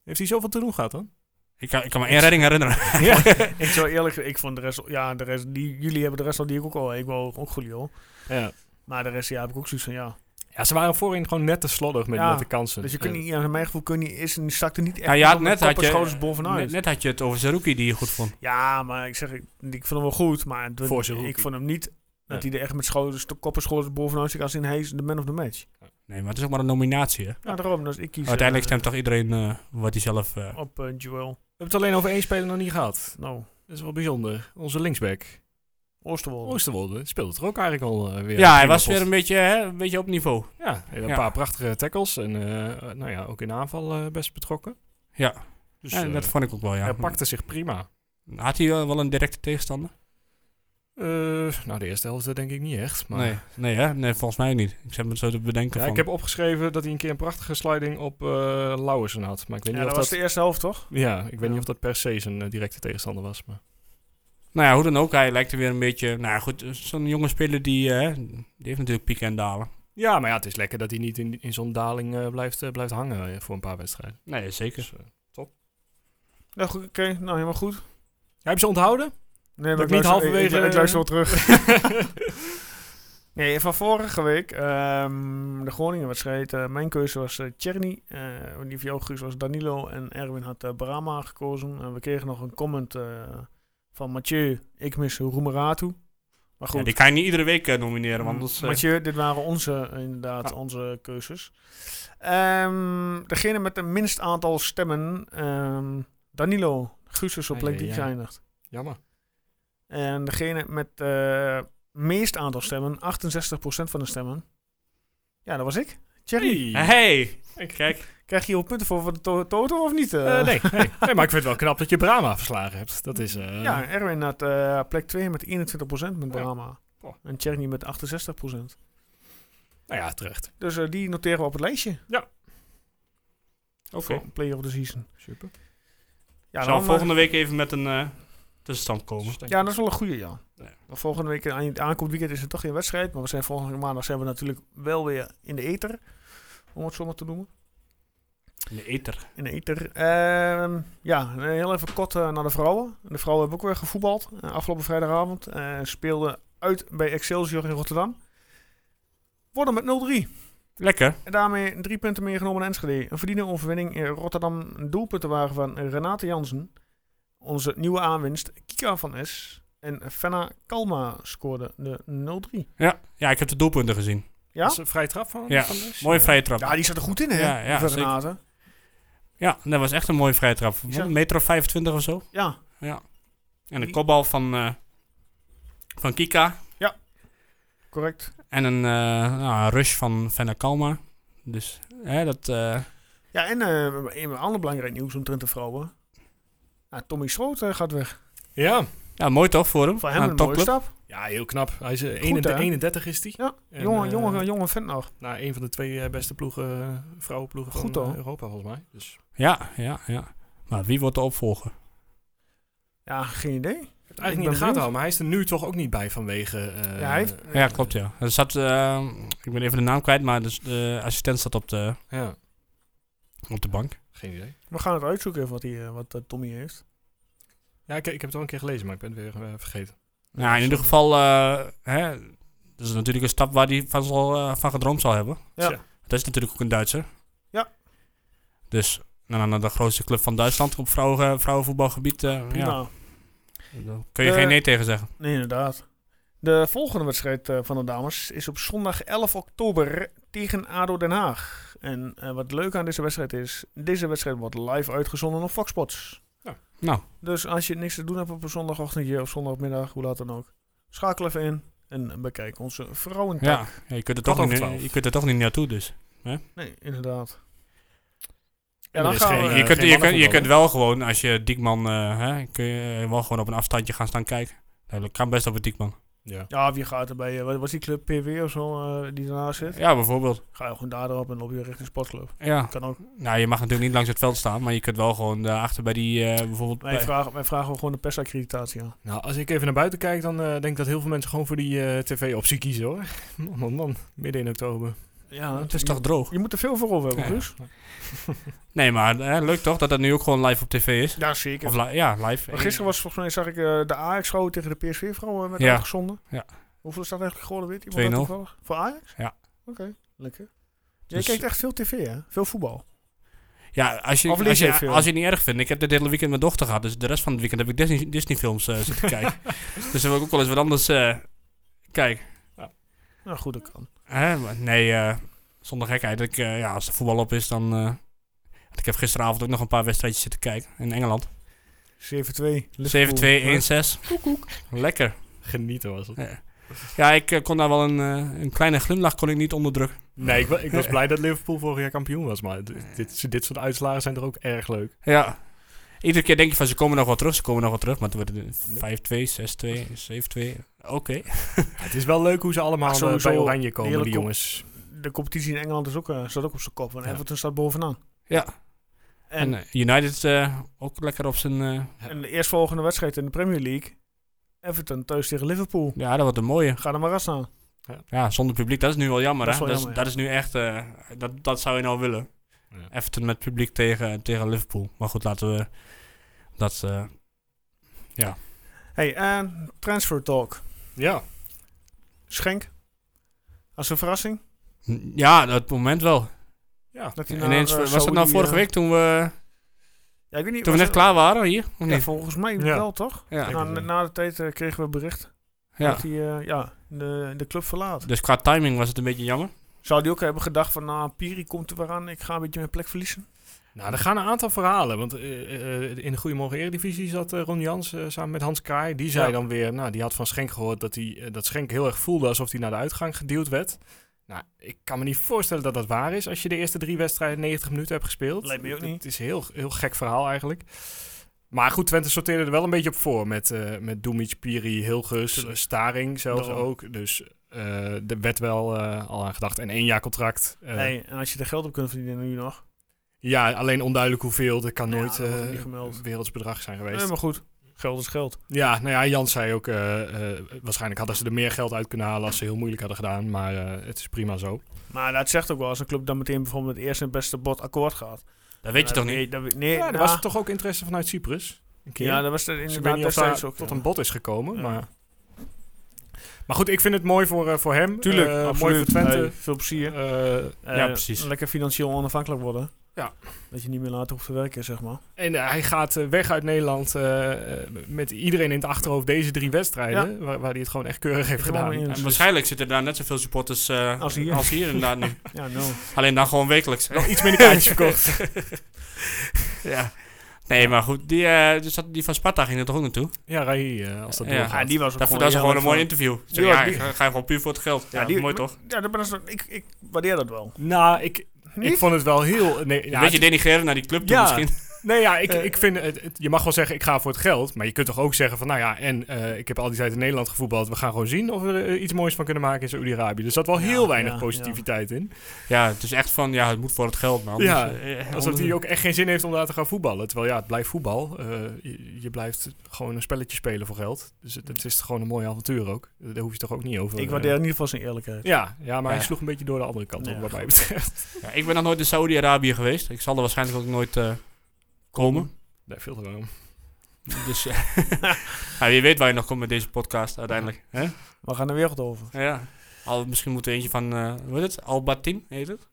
Speaker 3: Heeft hij zoveel te doen gehad dan?
Speaker 2: Ik, kan, ik kan me één redding herinneren.
Speaker 3: ja.
Speaker 1: ik zou eerlijk ik vond de rest, ja, de rest, die, jullie hebben de rest al die ik ook al, ik wou ook goed joh.
Speaker 3: ja.
Speaker 1: Maar de rest, ja, heb ik ook zoiets van, ja.
Speaker 3: Ja, ze waren voorin gewoon net te slordig met,
Speaker 1: Ja,
Speaker 3: met de kansen.
Speaker 1: Dus je kunt
Speaker 3: Ja.
Speaker 1: niet, ja, naar mijn gevoel kun je niet, is, stak er niet echt
Speaker 2: Ja, eh, Nou, je had
Speaker 1: onder
Speaker 2: net
Speaker 1: kop en
Speaker 2: had je-
Speaker 1: schouders bovenuit.
Speaker 2: Net, net had je het over Zerouki die je goed vond.
Speaker 1: Ja, maar ik zeg, ik, ik vond hem wel goed, maar het-
Speaker 3: Voor zijn
Speaker 1: ik
Speaker 3: rookie.
Speaker 1: vond hem niet dat hij er echt met schouders, koppen schouders bovenuit zit als in hij is de man of the match.
Speaker 2: Nee, maar het is ook maar een nominatie, hè?
Speaker 1: Ja, daarom, dus ik kies
Speaker 2: Uiteindelijk
Speaker 1: eh,
Speaker 2: stemt toch iedereen eh, wat hij zelf... eh,
Speaker 1: op eh Joel.
Speaker 3: We hebben het alleen over één speler nog niet gehad.
Speaker 1: Nou,
Speaker 3: Dat is wel bijzonder. Onze linksback.
Speaker 1: Oosterwolde.
Speaker 3: Oosterwolde speelde er ook eigenlijk al eh, weer.
Speaker 2: ja, hij was weer een beetje, hè, een beetje op niveau.
Speaker 3: Ja, hij had een
Speaker 2: Ja.
Speaker 3: paar prachtige tackles. En eh, nou ja, ook in aanval eh, best betrokken.
Speaker 2: Ja,
Speaker 3: Dus
Speaker 2: Ja,
Speaker 3: eh,
Speaker 2: dat vond ik ook wel, ja.
Speaker 3: hij pakte zich prima.
Speaker 2: Had hij eh, wel wel een directe tegenstander?
Speaker 3: Eh, nou, de eerste helft eh, denk ik niet echt. Maar
Speaker 2: Nee, nee, hè? nee, volgens mij niet. Ik zet me zo te bedenken
Speaker 3: Ja,
Speaker 2: van...
Speaker 3: ik heb opgeschreven dat hij een keer een prachtige sliding op eh Lauwersen had. Maar ik weet
Speaker 1: Ja,
Speaker 3: niet,
Speaker 1: dat
Speaker 3: of,
Speaker 1: was
Speaker 3: dat,
Speaker 1: de eerste helft, toch?
Speaker 3: ja, ik weet
Speaker 1: Ja.
Speaker 3: niet of dat per se zijn eh, directe tegenstander was. Maar.
Speaker 2: Nou ja, hoe dan ook, hij lijkt er weer een beetje... Nou ja, goed, zo'n jonge speler die, eh, die heeft natuurlijk pieken en dalen.
Speaker 3: Ja, maar ja, het is lekker dat hij niet in, in zo'n daling eh, blijft, eh, blijft hangen eh, voor een paar wedstrijden.
Speaker 2: Nee, zeker.
Speaker 3: Dus, eh,
Speaker 1: Ja, goed, oké, nou helemaal goed.
Speaker 3: heb je ze onthouden?
Speaker 1: Nee,
Speaker 3: Dat ik
Speaker 1: luister-
Speaker 3: niet halverwege- eh,
Speaker 1: Ik, ik, ik luister wel terug. Nee, van vorige week, ehm, de Groningen-wedstrijd, eh, mijn keuze was eh Tjerni. eh, die van jouw keuze was Danilo en Erwin had eh, Brahma gekozen. En we kregen nog een comment eh, van Mathieu, ik mis Roemeratu. Maar goed,
Speaker 2: Ja, die kan je niet iedere week eh, nomineren, want anders... eh,
Speaker 1: Mathieu, dit waren onze, eh, inderdaad,
Speaker 2: Ah.
Speaker 1: onze keuzes. Ehm, degene met het minst aantal stemmen, ehm, Danilo Guus is op
Speaker 3: Ai,
Speaker 1: plek
Speaker 3: ai,
Speaker 1: 3
Speaker 3: ai.
Speaker 1: geëindigd.
Speaker 3: Jammer.
Speaker 1: En degene met het meest aantal stemmen, 68% van de stemmen. Ja, dat was ik. Thierry,
Speaker 2: Hey! Kijk,
Speaker 1: krijg je hier ook punten voor voor de to- toto of niet? eh?
Speaker 3: Eh, nee, nee. nee, maar ik vind het wel knap dat je Brahma verslagen hebt. Dat is... eh,
Speaker 1: Ja, Erwin had eh, plek 2 met 21% met
Speaker 3: Ja.
Speaker 1: Brahma.
Speaker 3: Oh.
Speaker 1: En Thierry met 68%.
Speaker 3: Nou ja, terecht.
Speaker 1: Dus eh, die noteren we op het lijstje.
Speaker 3: Ja.
Speaker 1: Oké. Play of the season.
Speaker 3: Super.
Speaker 1: Ja,
Speaker 2: zal
Speaker 1: eh,
Speaker 2: volgende week even met een eh, tussenstand komen.
Speaker 1: Ja, dat is wel een goede, ja.
Speaker 2: Ja.
Speaker 1: Want Volgende week, eh, aan het aankomend weekend, is er toch geen wedstrijd. Maar we zijn volgende maandag zijn we natuurlijk wel weer in de ether. Om het zo maar te noemen.
Speaker 2: De eter.
Speaker 1: In de ether. Ehm, ja, eh, heel even kort eh, naar de vrouwen. De vrouwen hebben ook weer gevoetbald. eh, afgelopen vrijdagavond. eh speelden uit bij Excelsior in Rotterdam. Worden met 0-3.
Speaker 2: Lekker.
Speaker 1: En daarmee drie punten meegenomen naar Enschede. Een verdiende overwinning in Rotterdam. Doelpunten waren van Renate Jansen. Onze nieuwe aanwinst Kika van S. En Fenna Kalma scoorde de 0-3.
Speaker 2: Ja. ja, ik heb de doelpunten gezien.
Speaker 1: Ja?
Speaker 3: Is een vrij trap van?
Speaker 2: Ja,
Speaker 3: van Nes?
Speaker 2: mooie vrije trap.
Speaker 1: Ja, die zat er goed in, hè?
Speaker 2: Ja, ja,
Speaker 1: die van
Speaker 2: zeker.
Speaker 1: Renate.
Speaker 2: Ja, dat was echt een mooie vrije trap.
Speaker 1: Ik zag-
Speaker 2: Een meter of 25 of zo.
Speaker 1: Ja,
Speaker 2: En een
Speaker 1: Die-
Speaker 2: kopbal van, eh, van Kika.
Speaker 1: correct.
Speaker 2: En een, eh, nou, een rush van Fenna Kalma. Dus hè, dat... eh,
Speaker 1: Ja, en eh een ander belangrijk nieuws omtrent de vrouwen. Ja, Tommy Schroot eh, gaat weg.
Speaker 3: Ja.
Speaker 2: ja, mooi toch voor hem.
Speaker 1: Voor hem
Speaker 2: Aan
Speaker 1: een
Speaker 2: de
Speaker 1: mooie
Speaker 2: Nou, topclub.
Speaker 1: stap.
Speaker 3: Ja, heel knap. Hij is eh,
Speaker 1: Goed,
Speaker 3: 31,
Speaker 1: hè?
Speaker 3: 31 is hij.
Speaker 1: Ja,
Speaker 3: En,
Speaker 1: jonge,
Speaker 3: eh,
Speaker 1: jonge, jonge vent nog.
Speaker 3: Nou, een van de twee eh, beste ploegen, eh, vrouwenploegen
Speaker 1: Goed,
Speaker 3: van eh,
Speaker 1: hoor.
Speaker 3: Europa volgens mij. Dus
Speaker 2: Ja, ja, ja. Maar wie wordt de opvolger?
Speaker 1: Ja, geen idee.
Speaker 3: ik heb het eigenlijk niet in de gaten
Speaker 1: benieuwd.
Speaker 3: houden, maar hij is er nu toch ook niet bij vanwege... eh,
Speaker 1: Ja, hij heeft-
Speaker 2: Ja, klopt ja. Er zat, eh, ik ben even de naam kwijt, maar dus de assistent zat op de,
Speaker 3: ja,
Speaker 2: op de bank.
Speaker 3: geen idee.
Speaker 1: We gaan het uitzoeken even wat, die, eh, wat eh, Tommy heeft.
Speaker 3: Ja, ik, ik heb het al een keer gelezen, maar ik ben het weer eh, vergeten.
Speaker 2: Nou, in ieder geval, eh, hè, dat is natuurlijk een stap waar hij van, zal, eh, van gedroomd zal hebben.
Speaker 1: Ja.
Speaker 3: Tja.
Speaker 2: Dat is natuurlijk ook een Duitser.
Speaker 1: Ja.
Speaker 2: Dus nou, naar de grootste club van Duitsland op vrouwen, vrouwenvoetbalgebied. eh, ja,
Speaker 1: Prima.
Speaker 2: daar kun je
Speaker 1: Eh,
Speaker 2: geen nee tegen zeggen.
Speaker 1: Nee, inderdaad. De volgende wedstrijd eh, van de dames is op zondag 11 oktober tegen ADO Den Haag. En eh, wat leuk aan deze wedstrijd is, deze wedstrijd wordt live uitgezonden op Fox Sports.
Speaker 2: Nou,
Speaker 1: Dus als je niks te doen hebt op een zondagochtendje of zondagmiddag, hoe laat dan ook, schakel even in en bekijk onze vrouwentaak.
Speaker 2: ja, ja, je, kunt er
Speaker 3: Kwart
Speaker 2: toch
Speaker 3: over
Speaker 2: niet,
Speaker 3: twaalf.
Speaker 2: je kunt er toch niet naartoe dus.
Speaker 1: Nee, inderdaad.
Speaker 3: er is geen,
Speaker 1: we-
Speaker 3: eh,
Speaker 2: je, kunt, je, kunt, je
Speaker 3: mannenvoetbal,
Speaker 2: kunt wel gewoon, eh, als je Diekman, eh, hè, kun je wel gewoon op een afstandje gaan staan kijken. Dat kan best op een Diekman.
Speaker 3: Ja.
Speaker 1: Ja, wie gaat er bij, eh, wat was die club PW of zo eh, die daarnaast zit?
Speaker 2: Ja, bijvoorbeeld.
Speaker 1: Ga je gewoon daar erop en op je richting sportclub.
Speaker 2: Ja.
Speaker 1: Kan ook.
Speaker 2: Nou, je mag natuurlijk niet langs het veld staan, maar je kunt wel gewoon daarachter bij die eh, bijvoorbeeld.
Speaker 1: Wij
Speaker 2: bij-
Speaker 1: vragen, wij vragen gewoon de persaccreditatie aan.
Speaker 3: Nou, als ik even naar buiten kijk, dan eh, denk ik dat heel veel mensen gewoon voor die eh, tv-optie kiezen hoor. Man, man, man. Midden in oktober.
Speaker 1: Ja,
Speaker 2: het is toch droog?
Speaker 1: Je moet er veel voor over hebben,
Speaker 2: Ja.
Speaker 1: dus.
Speaker 2: Nee, maar eh, leuk toch dat dat nu ook gewoon live op tv is?
Speaker 1: Ja, zeker.
Speaker 2: Of li- ja, live.
Speaker 1: Maar gisteren was volgens mij, zag ik eh, de Ajax-vrouw tegen de PSV-vrouw werd
Speaker 2: Ja.
Speaker 1: eh, uitgezonden.
Speaker 2: Ja.
Speaker 1: Hoeveel is dat eigenlijk geworden, weet iemand dat
Speaker 2: 2-0.
Speaker 1: toevallig? Voor Ajax?
Speaker 2: Ja.
Speaker 1: Oké, lekker. Jij
Speaker 2: Dus-
Speaker 1: kijkt echt veel tv, hè? Veel voetbal.
Speaker 2: Ja, als je,
Speaker 1: Of lees
Speaker 2: als,
Speaker 1: jij
Speaker 2: je,
Speaker 1: veel?
Speaker 2: als je het niet erg vindt. Ik heb dit hele weekend mijn dochter gehad. Dus de rest van het weekend heb ik Disney, Disney films eh, zitten kijken. Dus dan wil ik ook wel eens wat anders eh kijken.
Speaker 1: Nou, goed, dat kan.
Speaker 2: Hè, maar nee, eh, zonder gekheid. Ik, eh, ja, als de voetbal op is, dan... eh, want ik heb gisteravond ook nog een paar wedstrijdjes zitten kijken in Engeland.
Speaker 1: 7-2.
Speaker 2: 7-2, 1-6. Lekker.
Speaker 3: Genieten was het.
Speaker 2: Ja, ik eh, kon daar wel een, eh, een kleine glimlach kon ik niet onderdrukken.
Speaker 3: Nee, ik, wa- ik was blij dat Liverpool vorig jaar kampioen was. Maar dit, dit, dit soort uitslagen zijn toch ook erg leuk.
Speaker 2: Ja. Iedere keer denk je van ze komen nog wel terug, ze komen nog wel terug. Maar toen werd het 5-2, 6-2, 7-2. Oké.
Speaker 3: Het is wel leuk hoe ze allemaal
Speaker 1: Ah,
Speaker 3: eh,
Speaker 1: sowieso.
Speaker 3: bij Oranje komen,
Speaker 1: Hele
Speaker 3: die
Speaker 1: kom-
Speaker 3: jongens.
Speaker 1: De competitie in Engeland is ook, eh, staat ook op zijn kop. En
Speaker 2: Ja.
Speaker 1: Everton staat bovenaan.
Speaker 2: Ja.
Speaker 1: En,
Speaker 2: En, eh, United eh, ook lekker op zijn... eh,
Speaker 1: en de eerstvolgende wedstrijd in de Premier League. Everton thuis tegen Liverpool.
Speaker 2: ja, dat wordt een mooie.
Speaker 1: Ga er maar aan staan.
Speaker 2: Ja, zonder publiek, dat is nu wel jammer.
Speaker 1: Dat is
Speaker 2: hè?
Speaker 1: wel
Speaker 2: dat, is, dat is nu echt... eh, dat, dat zou je nou willen.
Speaker 3: Ja.
Speaker 2: Everton met publiek tegen, tegen Liverpool. Maar goed, laten we... Dat... eh,
Speaker 1: Hey, en transfer talk.
Speaker 3: Ja,
Speaker 1: Schenk. Als een verrassing.
Speaker 2: n- ja, dat moment wel.
Speaker 3: ja.
Speaker 1: Dat hij naar,
Speaker 2: Ineens,
Speaker 1: eh,
Speaker 2: was dat
Speaker 1: Saudi,
Speaker 2: nou vorige
Speaker 1: eh,
Speaker 2: week toen we,
Speaker 1: Ja, ik weet niet,
Speaker 2: toen we
Speaker 1: was
Speaker 2: net
Speaker 1: het-
Speaker 2: klaar waren hier? Of
Speaker 1: Ja,
Speaker 2: niet?
Speaker 1: volgens mij
Speaker 3: Ja.
Speaker 1: wel, toch?
Speaker 2: Ja.
Speaker 1: Na,
Speaker 3: het wel.
Speaker 1: na de tijd eh, kregen we bericht
Speaker 2: ja.
Speaker 1: dat hij eh, ja, de, de club verlaat.
Speaker 2: Dus qua timing was het een beetje jammer.
Speaker 1: Zou hij ook hebben gedacht van, nou, Piri komt er weer aan. Ik ga een beetje mijn plek verliezen.
Speaker 3: Nou, er gaan een aantal verhalen. Want eh, eh, in de Goedemorgen Eredivisie zat eh, Ron Jans eh, samen met Hans Kraai. Die zei
Speaker 1: Ja.
Speaker 3: dan weer, nou, die had van Schenk gehoord dat, hij, eh, dat Schenk heel erg voelde alsof hij naar de uitgang geduwd werd. Nou, ik kan me niet voorstellen dat dat waar is als je de eerste drie wedstrijden 90 minuten hebt gespeeld.
Speaker 1: Lijkt me ook niet.
Speaker 3: Het is een heel, heel gek verhaal eigenlijk. Maar goed, Twente sorteerde er wel een beetje op voor met, eh met Dumic, Piri, Hilgers,
Speaker 1: Tuurlijk.
Speaker 3: Staring zelfs
Speaker 1: Daarom.
Speaker 3: ook. Dus eh er werd wel eh, al aan gedacht. En één jaar contract. eh,
Speaker 1: Hey, en als je er geld op kunt verdienen nu nog.
Speaker 3: ja, alleen onduidelijk hoeveel. Dat kan
Speaker 1: Nou Ja,
Speaker 3: nooit
Speaker 1: dat wordt
Speaker 3: eh,
Speaker 1: niet gemeld.
Speaker 3: wereldsbedrag zijn geweest.
Speaker 1: Nee, maar goed. Geld is geld.
Speaker 3: Ja, nou ja, Jan zei ook, eh, eh, waarschijnlijk hadden ze er meer geld uit kunnen halen als ze heel moeilijk hadden gedaan. Maar eh, het is prima zo.
Speaker 1: Maar dat zegt ook wel, als een club dan meteen bijvoorbeeld het eerste en beste bod akkoord gaat.
Speaker 2: Dat weet je
Speaker 1: Ja,
Speaker 2: toch
Speaker 1: nee,
Speaker 2: niet?
Speaker 1: dat weet- nee,
Speaker 3: ja, er
Speaker 1: nou,
Speaker 3: was er toch ook interesse vanuit Cyprus? Een keer.
Speaker 1: Ja, dat was er
Speaker 3: Dus
Speaker 1: inderdaad
Speaker 3: ik weet niet of
Speaker 1: destijds
Speaker 3: daar
Speaker 1: ook.
Speaker 3: tot
Speaker 1: ja.
Speaker 3: een bod is gekomen.
Speaker 1: Ja.
Speaker 3: Maar... maar goed, ik vind het mooi voor, eh, voor hem.
Speaker 1: Tuurlijk,
Speaker 3: Eh,
Speaker 1: absoluut.
Speaker 3: mooi voor
Speaker 1: Hey,
Speaker 3: Twente.
Speaker 1: veel plezier.
Speaker 3: Eh,
Speaker 1: Eh,
Speaker 2: precies.
Speaker 1: Lekker financieel onafhankelijk worden.
Speaker 3: Ja.
Speaker 1: Dat je niet meer later hoeft te werken, zeg maar.
Speaker 3: en eh, hij gaat eh, weg uit Nederland eh, eh, met iedereen in het achterhoofd deze drie wedstrijden. Waar, waar hij het gewoon echt keurig heeft
Speaker 1: Gewoon
Speaker 3: gedaan.
Speaker 1: in-
Speaker 2: En waarschijnlijk zitten daar net zoveel supporters eh,
Speaker 1: dus- Als hier.
Speaker 2: als hier inderdaad nu.
Speaker 1: Ja, no.
Speaker 2: Alleen dan gewoon wekelijks.
Speaker 3: Nog iets minder kaartjes verkocht.
Speaker 2: ja. Nee, maar goed. Die, eh, die, zat- die van Sparta ging er toch ook naartoe?
Speaker 3: Ja, Rai, eh, als dat
Speaker 2: Ja.
Speaker 3: doorgaat.
Speaker 1: Ja, die was ook
Speaker 2: Dat, dat is
Speaker 1: heel
Speaker 2: gewoon een
Speaker 1: erg
Speaker 2: mooi
Speaker 1: van-
Speaker 2: interview. Zo,
Speaker 1: Die
Speaker 2: ja,
Speaker 1: was- die-
Speaker 2: ga, ga je gewoon puur voor het geld. Ja,
Speaker 1: Ja, die-
Speaker 2: mooi toch?
Speaker 1: Ja, dat ben ik- ik, ik waardeer dat wel.
Speaker 3: Nou, ik, ik
Speaker 1: Niet?
Speaker 3: vond het wel heel... Nee, ja,
Speaker 2: Een beetje denigreren naar die club toe
Speaker 3: Ja.
Speaker 2: misschien.
Speaker 3: nee, ja ik,
Speaker 1: Eh.
Speaker 3: ik vind het, het- Je mag wel zeggen, ik ga voor het geld. Maar je kunt toch ook zeggen van... Nou ja, en eh, ik heb al die tijd in Nederland gevoetbald. We gaan gewoon zien of we er eh, iets moois van kunnen maken in Saudi-Arabië. Dus dat wel
Speaker 1: Ja,
Speaker 3: heel weinig
Speaker 1: ja,
Speaker 3: positiviteit in.
Speaker 2: Ja, het is echt van, ja, het moet voor het geld, man. Dus, eh,
Speaker 3: Ja,
Speaker 1: eh,
Speaker 3: Alsof hij ook echt geen zin heeft om daar te gaan voetballen. Terwijl ja, het blijft voetbal. Eh, je, je blijft gewoon een spelletje spelen voor geld. Dus het, het is gewoon een mooi avontuur ook. Daar hoef je toch ook niet over...
Speaker 1: Ik
Speaker 3: eh,
Speaker 1: waardeer in ieder geval zijn eerlijkheid.
Speaker 3: ja, ja, maar hij
Speaker 2: Ja.
Speaker 3: sloeg een beetje door de andere kant op,
Speaker 1: Ja,
Speaker 3: wat mij
Speaker 1: goed.
Speaker 3: betreft.
Speaker 2: Ja, ik ben nog nooit in Saudi-Arabië geweest. Ik zal er waarschijnlijk ook nooit eh, komen.
Speaker 3: Nee, veel te warm.
Speaker 2: Dus eh, ja, wie weet waar je nog komt met deze podcast uiteindelijk. Hè?
Speaker 1: We gaan de wereld over.
Speaker 2: Ja. Al, misschien moet er eentje van, eh hoe heet het? Albatin heet het?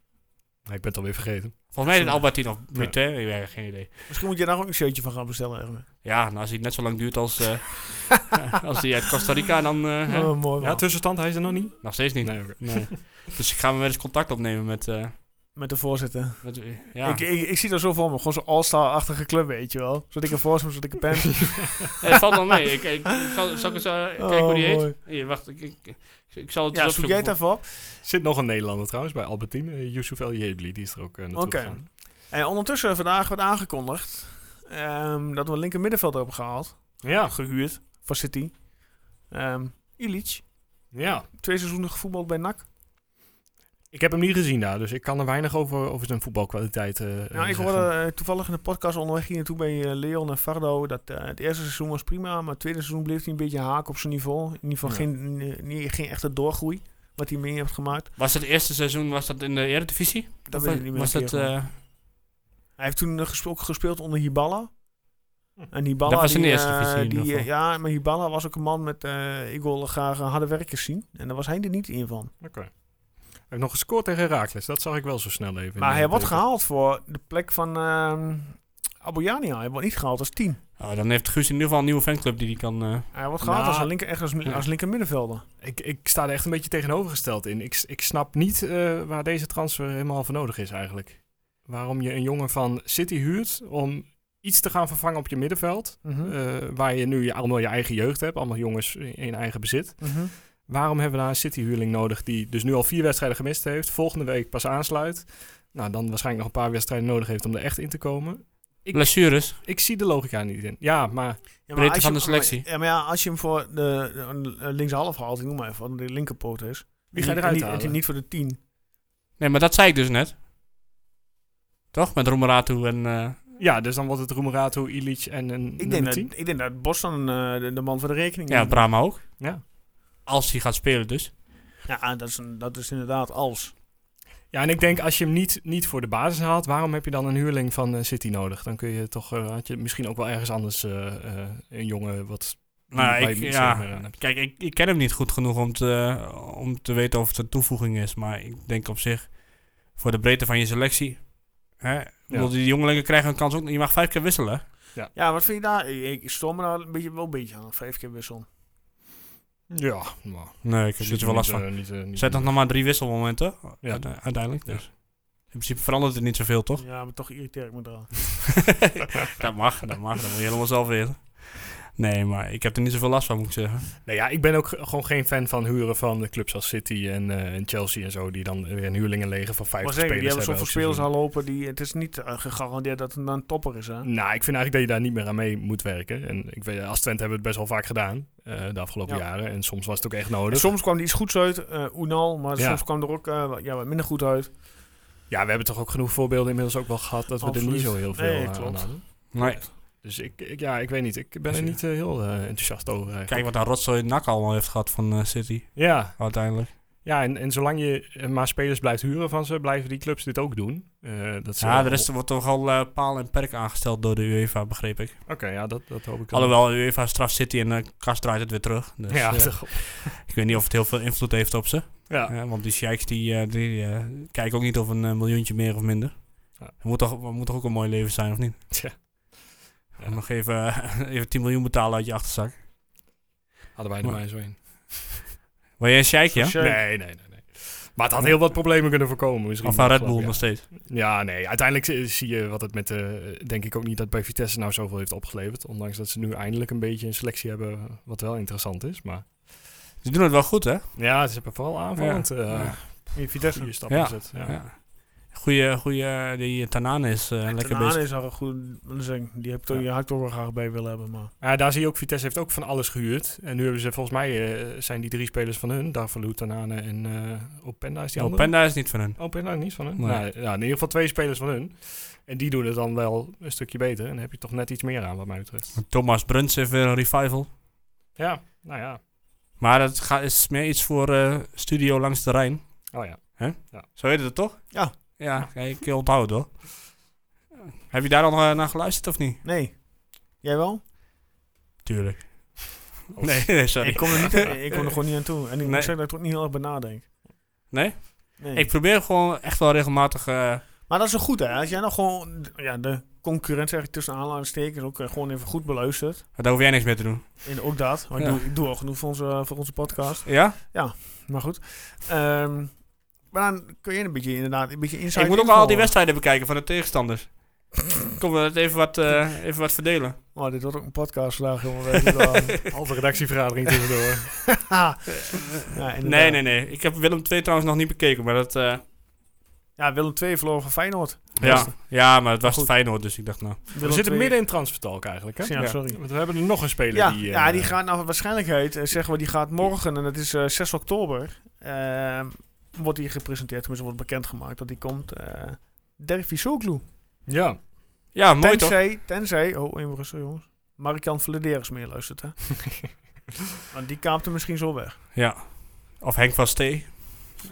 Speaker 3: Nee, ik ben het alweer vergeten.
Speaker 2: Volgens mij is het Albertine of Bretagne, ik heb geen idee.
Speaker 1: Misschien moet je daar ook een shirtje van gaan bestellen. Erwin.
Speaker 2: Ja, nou, als hij net zo lang duurt als, eh, als die uit Costa Rica, dan eh, hè?
Speaker 1: Oh, mooi man.
Speaker 3: Ja, tussenstand, hij is er nog niet?
Speaker 2: nog steeds niet.
Speaker 3: Nee, oké.
Speaker 2: Nee. dus ik ga me weer eens contact opnemen met... eh,
Speaker 1: Met de voorzitter.
Speaker 2: met eh, ja.
Speaker 1: Ik, ik, ik zie dat zo voor me. Gewoon zo'n all-star-achtige club, weet je wel. Zo'n dikke voorzitter, zo'n dikke pen.
Speaker 2: Nee, het valt wel mee. Ik, ik, ik zal, zal ik eens eh, kijken hoe die
Speaker 1: Oh,
Speaker 2: heet?
Speaker 1: mooi.
Speaker 2: Hier, wacht, ik, ik, ik, ik zal het
Speaker 1: Ja,
Speaker 2: eens
Speaker 1: zoek
Speaker 2: opzoeken.
Speaker 1: jij het even op.
Speaker 3: Zit nog een Nederlander trouwens bij Albertine, eh, Yusuf El Jebli, die is er ook eh, naartoe
Speaker 1: Oké.
Speaker 3: gegaan.
Speaker 1: En ondertussen vandaag werd aangekondigd ehm, dat we een linker middenveld hebben gehaald.
Speaker 3: Ja,
Speaker 1: Gehuurd van City. Ehm, Ilic.
Speaker 3: Ja,
Speaker 1: Twee seizoenen gevoetbald bij NAC.
Speaker 2: Eh,
Speaker 3: ik heb hem niet gezien daar, dus ik kan er weinig over, over zijn voetbalkwaliteit eh
Speaker 1: Nou, ik hoorde eh, toevallig in de podcast onderweg hier naartoe bij eh, Leon en Fardo dat eh, het eerste seizoen was prima, maar het tweede seizoen bleef hij een beetje haak op zijn niveau. In ieder geval
Speaker 3: Ja.
Speaker 1: geen, eh, niet- geen echte doorgroei, wat hij mee heeft gemaakt.
Speaker 2: Was het eerste seizoen was dat in de Eredivisie?
Speaker 1: Dat
Speaker 2: Of
Speaker 1: weet ik niet meer.
Speaker 2: Was
Speaker 1: een
Speaker 2: dat,
Speaker 1: keer, maar-
Speaker 2: eh,
Speaker 1: Hij heeft toen eh, gespe- ook gespeeld onder Hibala.
Speaker 3: Hm.
Speaker 1: En Hibala,
Speaker 2: Dat was in de
Speaker 1: die,
Speaker 2: eerste
Speaker 1: eh,
Speaker 2: divisie in
Speaker 1: die,
Speaker 2: ieder
Speaker 1: eh, Ja, maar Hibala was ook een man met, eh ik wil graag eh, harde werkers zien. En daar was hij er niet in van.
Speaker 3: Hij heeft nog gescoord tegen Herakles, dat zag ik wel zo snel even. in
Speaker 1: Maar
Speaker 3: de
Speaker 1: hij wordt
Speaker 3: beelden.
Speaker 1: gehaald voor de plek van ehm Abouyania. Hij wordt niet gehaald als 10.
Speaker 2: oh, dan heeft Guus in ieder geval een nieuwe fanclub die die kan... eh,
Speaker 1: Hij wordt gehaald
Speaker 3: Nou,
Speaker 1: als, een linker, echt als, als linker middenvelder.
Speaker 3: Ik, ik sta er echt een beetje tegenovergesteld in. Ik, s- ik snap niet eh, waar deze transfer helemaal voor nodig is eigenlijk. Waarom je een jongen van City huurt om iets te gaan vervangen op je middenveld.
Speaker 1: Mhm.
Speaker 3: eh, waar je nu je, allemaal je eigen jeugd hebt, allemaal jongens in eigen bezit.
Speaker 1: Mhm.
Speaker 3: Waarom hebben we daar een City-huurling nodig die dus nu al vier wedstrijden gemist heeft, volgende week pas aansluit. Nou, dan waarschijnlijk nog een paar wedstrijden nodig heeft om er echt in te komen. Ik-
Speaker 2: Blessures.
Speaker 3: Ik zie de logica niet in. Ja, maar
Speaker 1: Ja,
Speaker 2: Breedte
Speaker 1: als
Speaker 2: van
Speaker 1: je-
Speaker 2: de selectie.
Speaker 1: Ja, maar ja, als je hem voor de, de, de linkshalf haalt, ik noem maar even, want de linkerpoot is.
Speaker 3: wie ga je
Speaker 1: Niet-
Speaker 3: eruit
Speaker 1: niet,
Speaker 3: halen?
Speaker 1: Niet voor de 10.
Speaker 2: Nee, maar dat zei ik dus net. Toch? Met Romeratu en... eh,
Speaker 3: Ja, dus dan wordt het Roemeratu, Ilic en een
Speaker 1: Ik denk,
Speaker 3: nummer
Speaker 1: dat,
Speaker 3: 10.
Speaker 1: ik denk dat Bos dan eh, de, de man voor de rekening
Speaker 2: ja,
Speaker 1: is.
Speaker 2: Brahma ook.
Speaker 3: Ja.
Speaker 2: Als hij gaat spelen dus.
Speaker 1: Ja, dat is, een- dat is inderdaad als.
Speaker 3: Ja, en ik denk als je hem niet, niet voor de basis haalt, waarom heb je dan een huurling van eh, City nodig? Dan kun je toch, eh, had je misschien ook wel ergens anders eh, eh, een jongen wat...
Speaker 2: Nou,
Speaker 3: waar
Speaker 2: ik,
Speaker 3: je eh, iets
Speaker 2: ja,
Speaker 3: meer aan hebt.
Speaker 2: kijk, ik, ik ken hem niet goed genoeg om te, eh, om te weten of het een toevoeging is. Maar ik denk op zich, voor de breedte van je selectie... Hè? Ik bedoel, die jongelingen krijgen een kans ook. Je mag vijf keer wisselen.
Speaker 1: Ja, wat vind je daar? Ik, ik stoor me daar een beetje, wel een beetje aan. Vijf keer wissel.
Speaker 3: Ja, maar... eh,
Speaker 2: Nee, ik heb er wel last van. Zijn dat nog maar drie wisselmomenten
Speaker 3: Ja.
Speaker 2: uite- uiteindelijk.
Speaker 3: Ja.
Speaker 2: Dus. In principe verandert het niet zoveel, toch?
Speaker 1: Ja, maar toch irriteer ik me daar.
Speaker 2: dat mag, dat mag. Dat moet je helemaal zelf weten. Nee, maar ik heb er niet zoveel last van, moet ik zeggen.
Speaker 3: Nee, Nou ja, ik ben ook ge- gewoon geen fan van huren van de clubs als City en, eh, en Chelsea en zo, die dan weer een huurlingenleger van
Speaker 1: Maar
Speaker 3: 50
Speaker 1: zeker,
Speaker 3: spelers
Speaker 1: die hebben zoveel
Speaker 3: elk
Speaker 1: spelers
Speaker 3: seizoen.
Speaker 1: al lopen. Die, het is niet eh, gegarandeerd dat het dan een topper is. Hè?
Speaker 3: Nou, ik vind eigenlijk dat je daar niet meer aan mee moet werken. En ik weet, als Twente hebben we het best wel vaak gedaan eh, de afgelopen
Speaker 1: Ja.
Speaker 3: jaren. En soms was het ook echt
Speaker 1: En
Speaker 3: nodig.
Speaker 1: soms kwam er iets goeds uit, eh Unal, maar
Speaker 3: Ja.
Speaker 1: soms kwam er ook eh, wat- ja, wat minder goed uit.
Speaker 3: Ja, we hebben toch ook genoeg voorbeelden inmiddels ook wel gehad dat we er
Speaker 1: Absoluut.
Speaker 3: niet zo heel veel
Speaker 1: Nee,
Speaker 3: eh, aan
Speaker 1: klopt.
Speaker 3: hadden.
Speaker 2: Nee.
Speaker 3: Dus ik, ik- ja, ik weet niet. Ik ben er niet eh, heel eh, enthousiast over eigenlijk.
Speaker 2: Kijk wat dat rotzooi nak allemaal heeft gehad van eh, City,
Speaker 3: Ja,
Speaker 2: uiteindelijk.
Speaker 3: ja en, en zolang je eh, maar spelers blijft huren van ze, blijven die clubs dit ook doen. Eh, dat ze
Speaker 2: Ja, de rest wordt toch al eh, paal en perk aangesteld door de UEFA, begreep ik.
Speaker 3: Oké, ja, dat, dat hoop ik wel.
Speaker 2: Alhoewel, de UEFA straft City en de kast draait het weer terug. Dus,
Speaker 3: ja,
Speaker 2: eh,
Speaker 3: toch.
Speaker 2: ik weet niet of het heel veel invloed heeft op ze.
Speaker 3: ja.
Speaker 2: Eh, want die sheiks die, eh, die eh, kijken ook niet of een eh, miljoentje meer of minder.
Speaker 3: Ja.
Speaker 2: Het moet toch, het moet toch ook een mooi leven zijn, of niet?
Speaker 3: Tja. Ja.
Speaker 2: Om Nog even, eh, even 10 miljoen betalen uit je achterzak.
Speaker 3: Hadden wij er
Speaker 2: Maar-
Speaker 3: maar zo in.
Speaker 2: Wil jij een sheik, ja?
Speaker 1: Shake.
Speaker 3: Nee, nee, nee, nee. Maar het had heel wat problemen kunnen voorkomen misschien.
Speaker 2: Of van Red
Speaker 3: Afgelopen
Speaker 2: Bull nog
Speaker 3: jaar.
Speaker 2: steeds?
Speaker 3: Ja, nee. Uiteindelijk zie- zie je wat het met... eh denk ik ook niet dat bij Vitesse nou zoveel heeft opgeleverd. Ondanks dat ze nu eindelijk een beetje een selectie hebben wat wel interessant is. Maar
Speaker 2: Ze doen het wel goed, hè?
Speaker 3: ja, ze hebben vooral aanvallend ja.
Speaker 2: Ja.
Speaker 1: In eh, Vitesse.
Speaker 3: goede stappen
Speaker 2: Ja.
Speaker 3: gezet. Ja.
Speaker 2: Ja. Goeie, goeie, eh, die Tanane is eh, lekker
Speaker 1: Tanane
Speaker 2: bezig.
Speaker 1: is al een goed zing. Die heb ik toch, je had ik toch wel graag bij willen hebben. Maar.
Speaker 3: Maar daar zie je ook, Vitesse heeft ook van alles gehuurd. En nu hebben ze volgens mij, eh, zijn die drie spelers van hun. Darvalu, Tanane en eh Openda is die andere.
Speaker 2: Openda is niet van hun.
Speaker 3: Oh, ben je daar niet van hun?
Speaker 2: Nee.
Speaker 3: Nou, ja, in ieder geval twee spelers van hun. En die doen het dan wel een stukje beter. En dan heb je toch net iets meer aan, wat mij betreft.
Speaker 2: Thomas Bruns heeft weer een revival.
Speaker 3: Ja, nou ja.
Speaker 2: Maar dat ga, is meer iets voor eh, studio langs de Rijn.
Speaker 3: Oh ja.
Speaker 2: Zo heet het toch?
Speaker 1: Ja.
Speaker 2: Ja, kijk, je onthoudt hoor. Heb je daar al eh, naar geluisterd of niet?
Speaker 1: Nee. Jij wel?
Speaker 2: Tuurlijk. Nee, nee, sorry.
Speaker 1: Ik kom, er niet, ik kom er gewoon niet aan toe. En ik
Speaker 2: Nee.
Speaker 1: moet zeggen dat ik er ook niet heel erg bij nadenk.
Speaker 2: Nee?
Speaker 1: Nee.
Speaker 2: Ik probeer gewoon echt wel regelmatig... eh,
Speaker 1: maar dat is wel goed hè. Als jij nou gewoon ja, de concurrent zeg ik tussen aanhalingstekens ook eh, gewoon even goed beluistert.
Speaker 2: daar hoef jij niks mee te doen.
Speaker 1: En ook dat. Maar
Speaker 2: Ja.
Speaker 1: ik, doe, ik doe al genoeg voor onze, eh, voor onze podcast.
Speaker 2: Ja?
Speaker 1: Maar goed. Ehm, maar dan kun je een beetje inderdaad een beetje insight
Speaker 2: ik moet ook
Speaker 1: info
Speaker 2: al die
Speaker 1: hebben.
Speaker 2: wedstrijden bekijken van de tegenstanders. Kom, we even wat, eh, even wat verdelen.
Speaker 1: Oh, dit wordt ook een podcast vandaag, jongen. Weet je wel.
Speaker 3: Halve redactievergadering tussendoor.
Speaker 1: ja, inderdaad.
Speaker 2: Nee, nee, nee. Ik heb Willem 2 trouwens nog niet bekeken, maar dat... eh,
Speaker 1: Ja, Willem II verloren van Feyenoord.
Speaker 2: Ja, ja, maar het was
Speaker 1: Goed.
Speaker 2: Feyenoord, dus ik dacht nou...
Speaker 3: We zitten midden in het transfertalk eigenlijk, hè?
Speaker 1: Ja,
Speaker 2: Ja.
Speaker 1: sorry.
Speaker 3: Want we hebben er nog een speler
Speaker 1: Ja,
Speaker 3: die... eh,
Speaker 1: ja, die gaat naar waarschijnlijkheid, eh, zeggen we, die gaat morgen, en dat is eh, 6 oktober, eh, wordt die gepresenteerd, tenminste wordt bekendgemaakt dat die komt. eh Dervi Soglu.
Speaker 3: Ja.
Speaker 2: Ja, mooi toch?
Speaker 1: Tenzij, tenzij, oh even rustig jongens, Marikan Vladeris meer luistert hè. Want die kaapt hem misschien zo weg.
Speaker 2: Ja. Of Henk van Stee.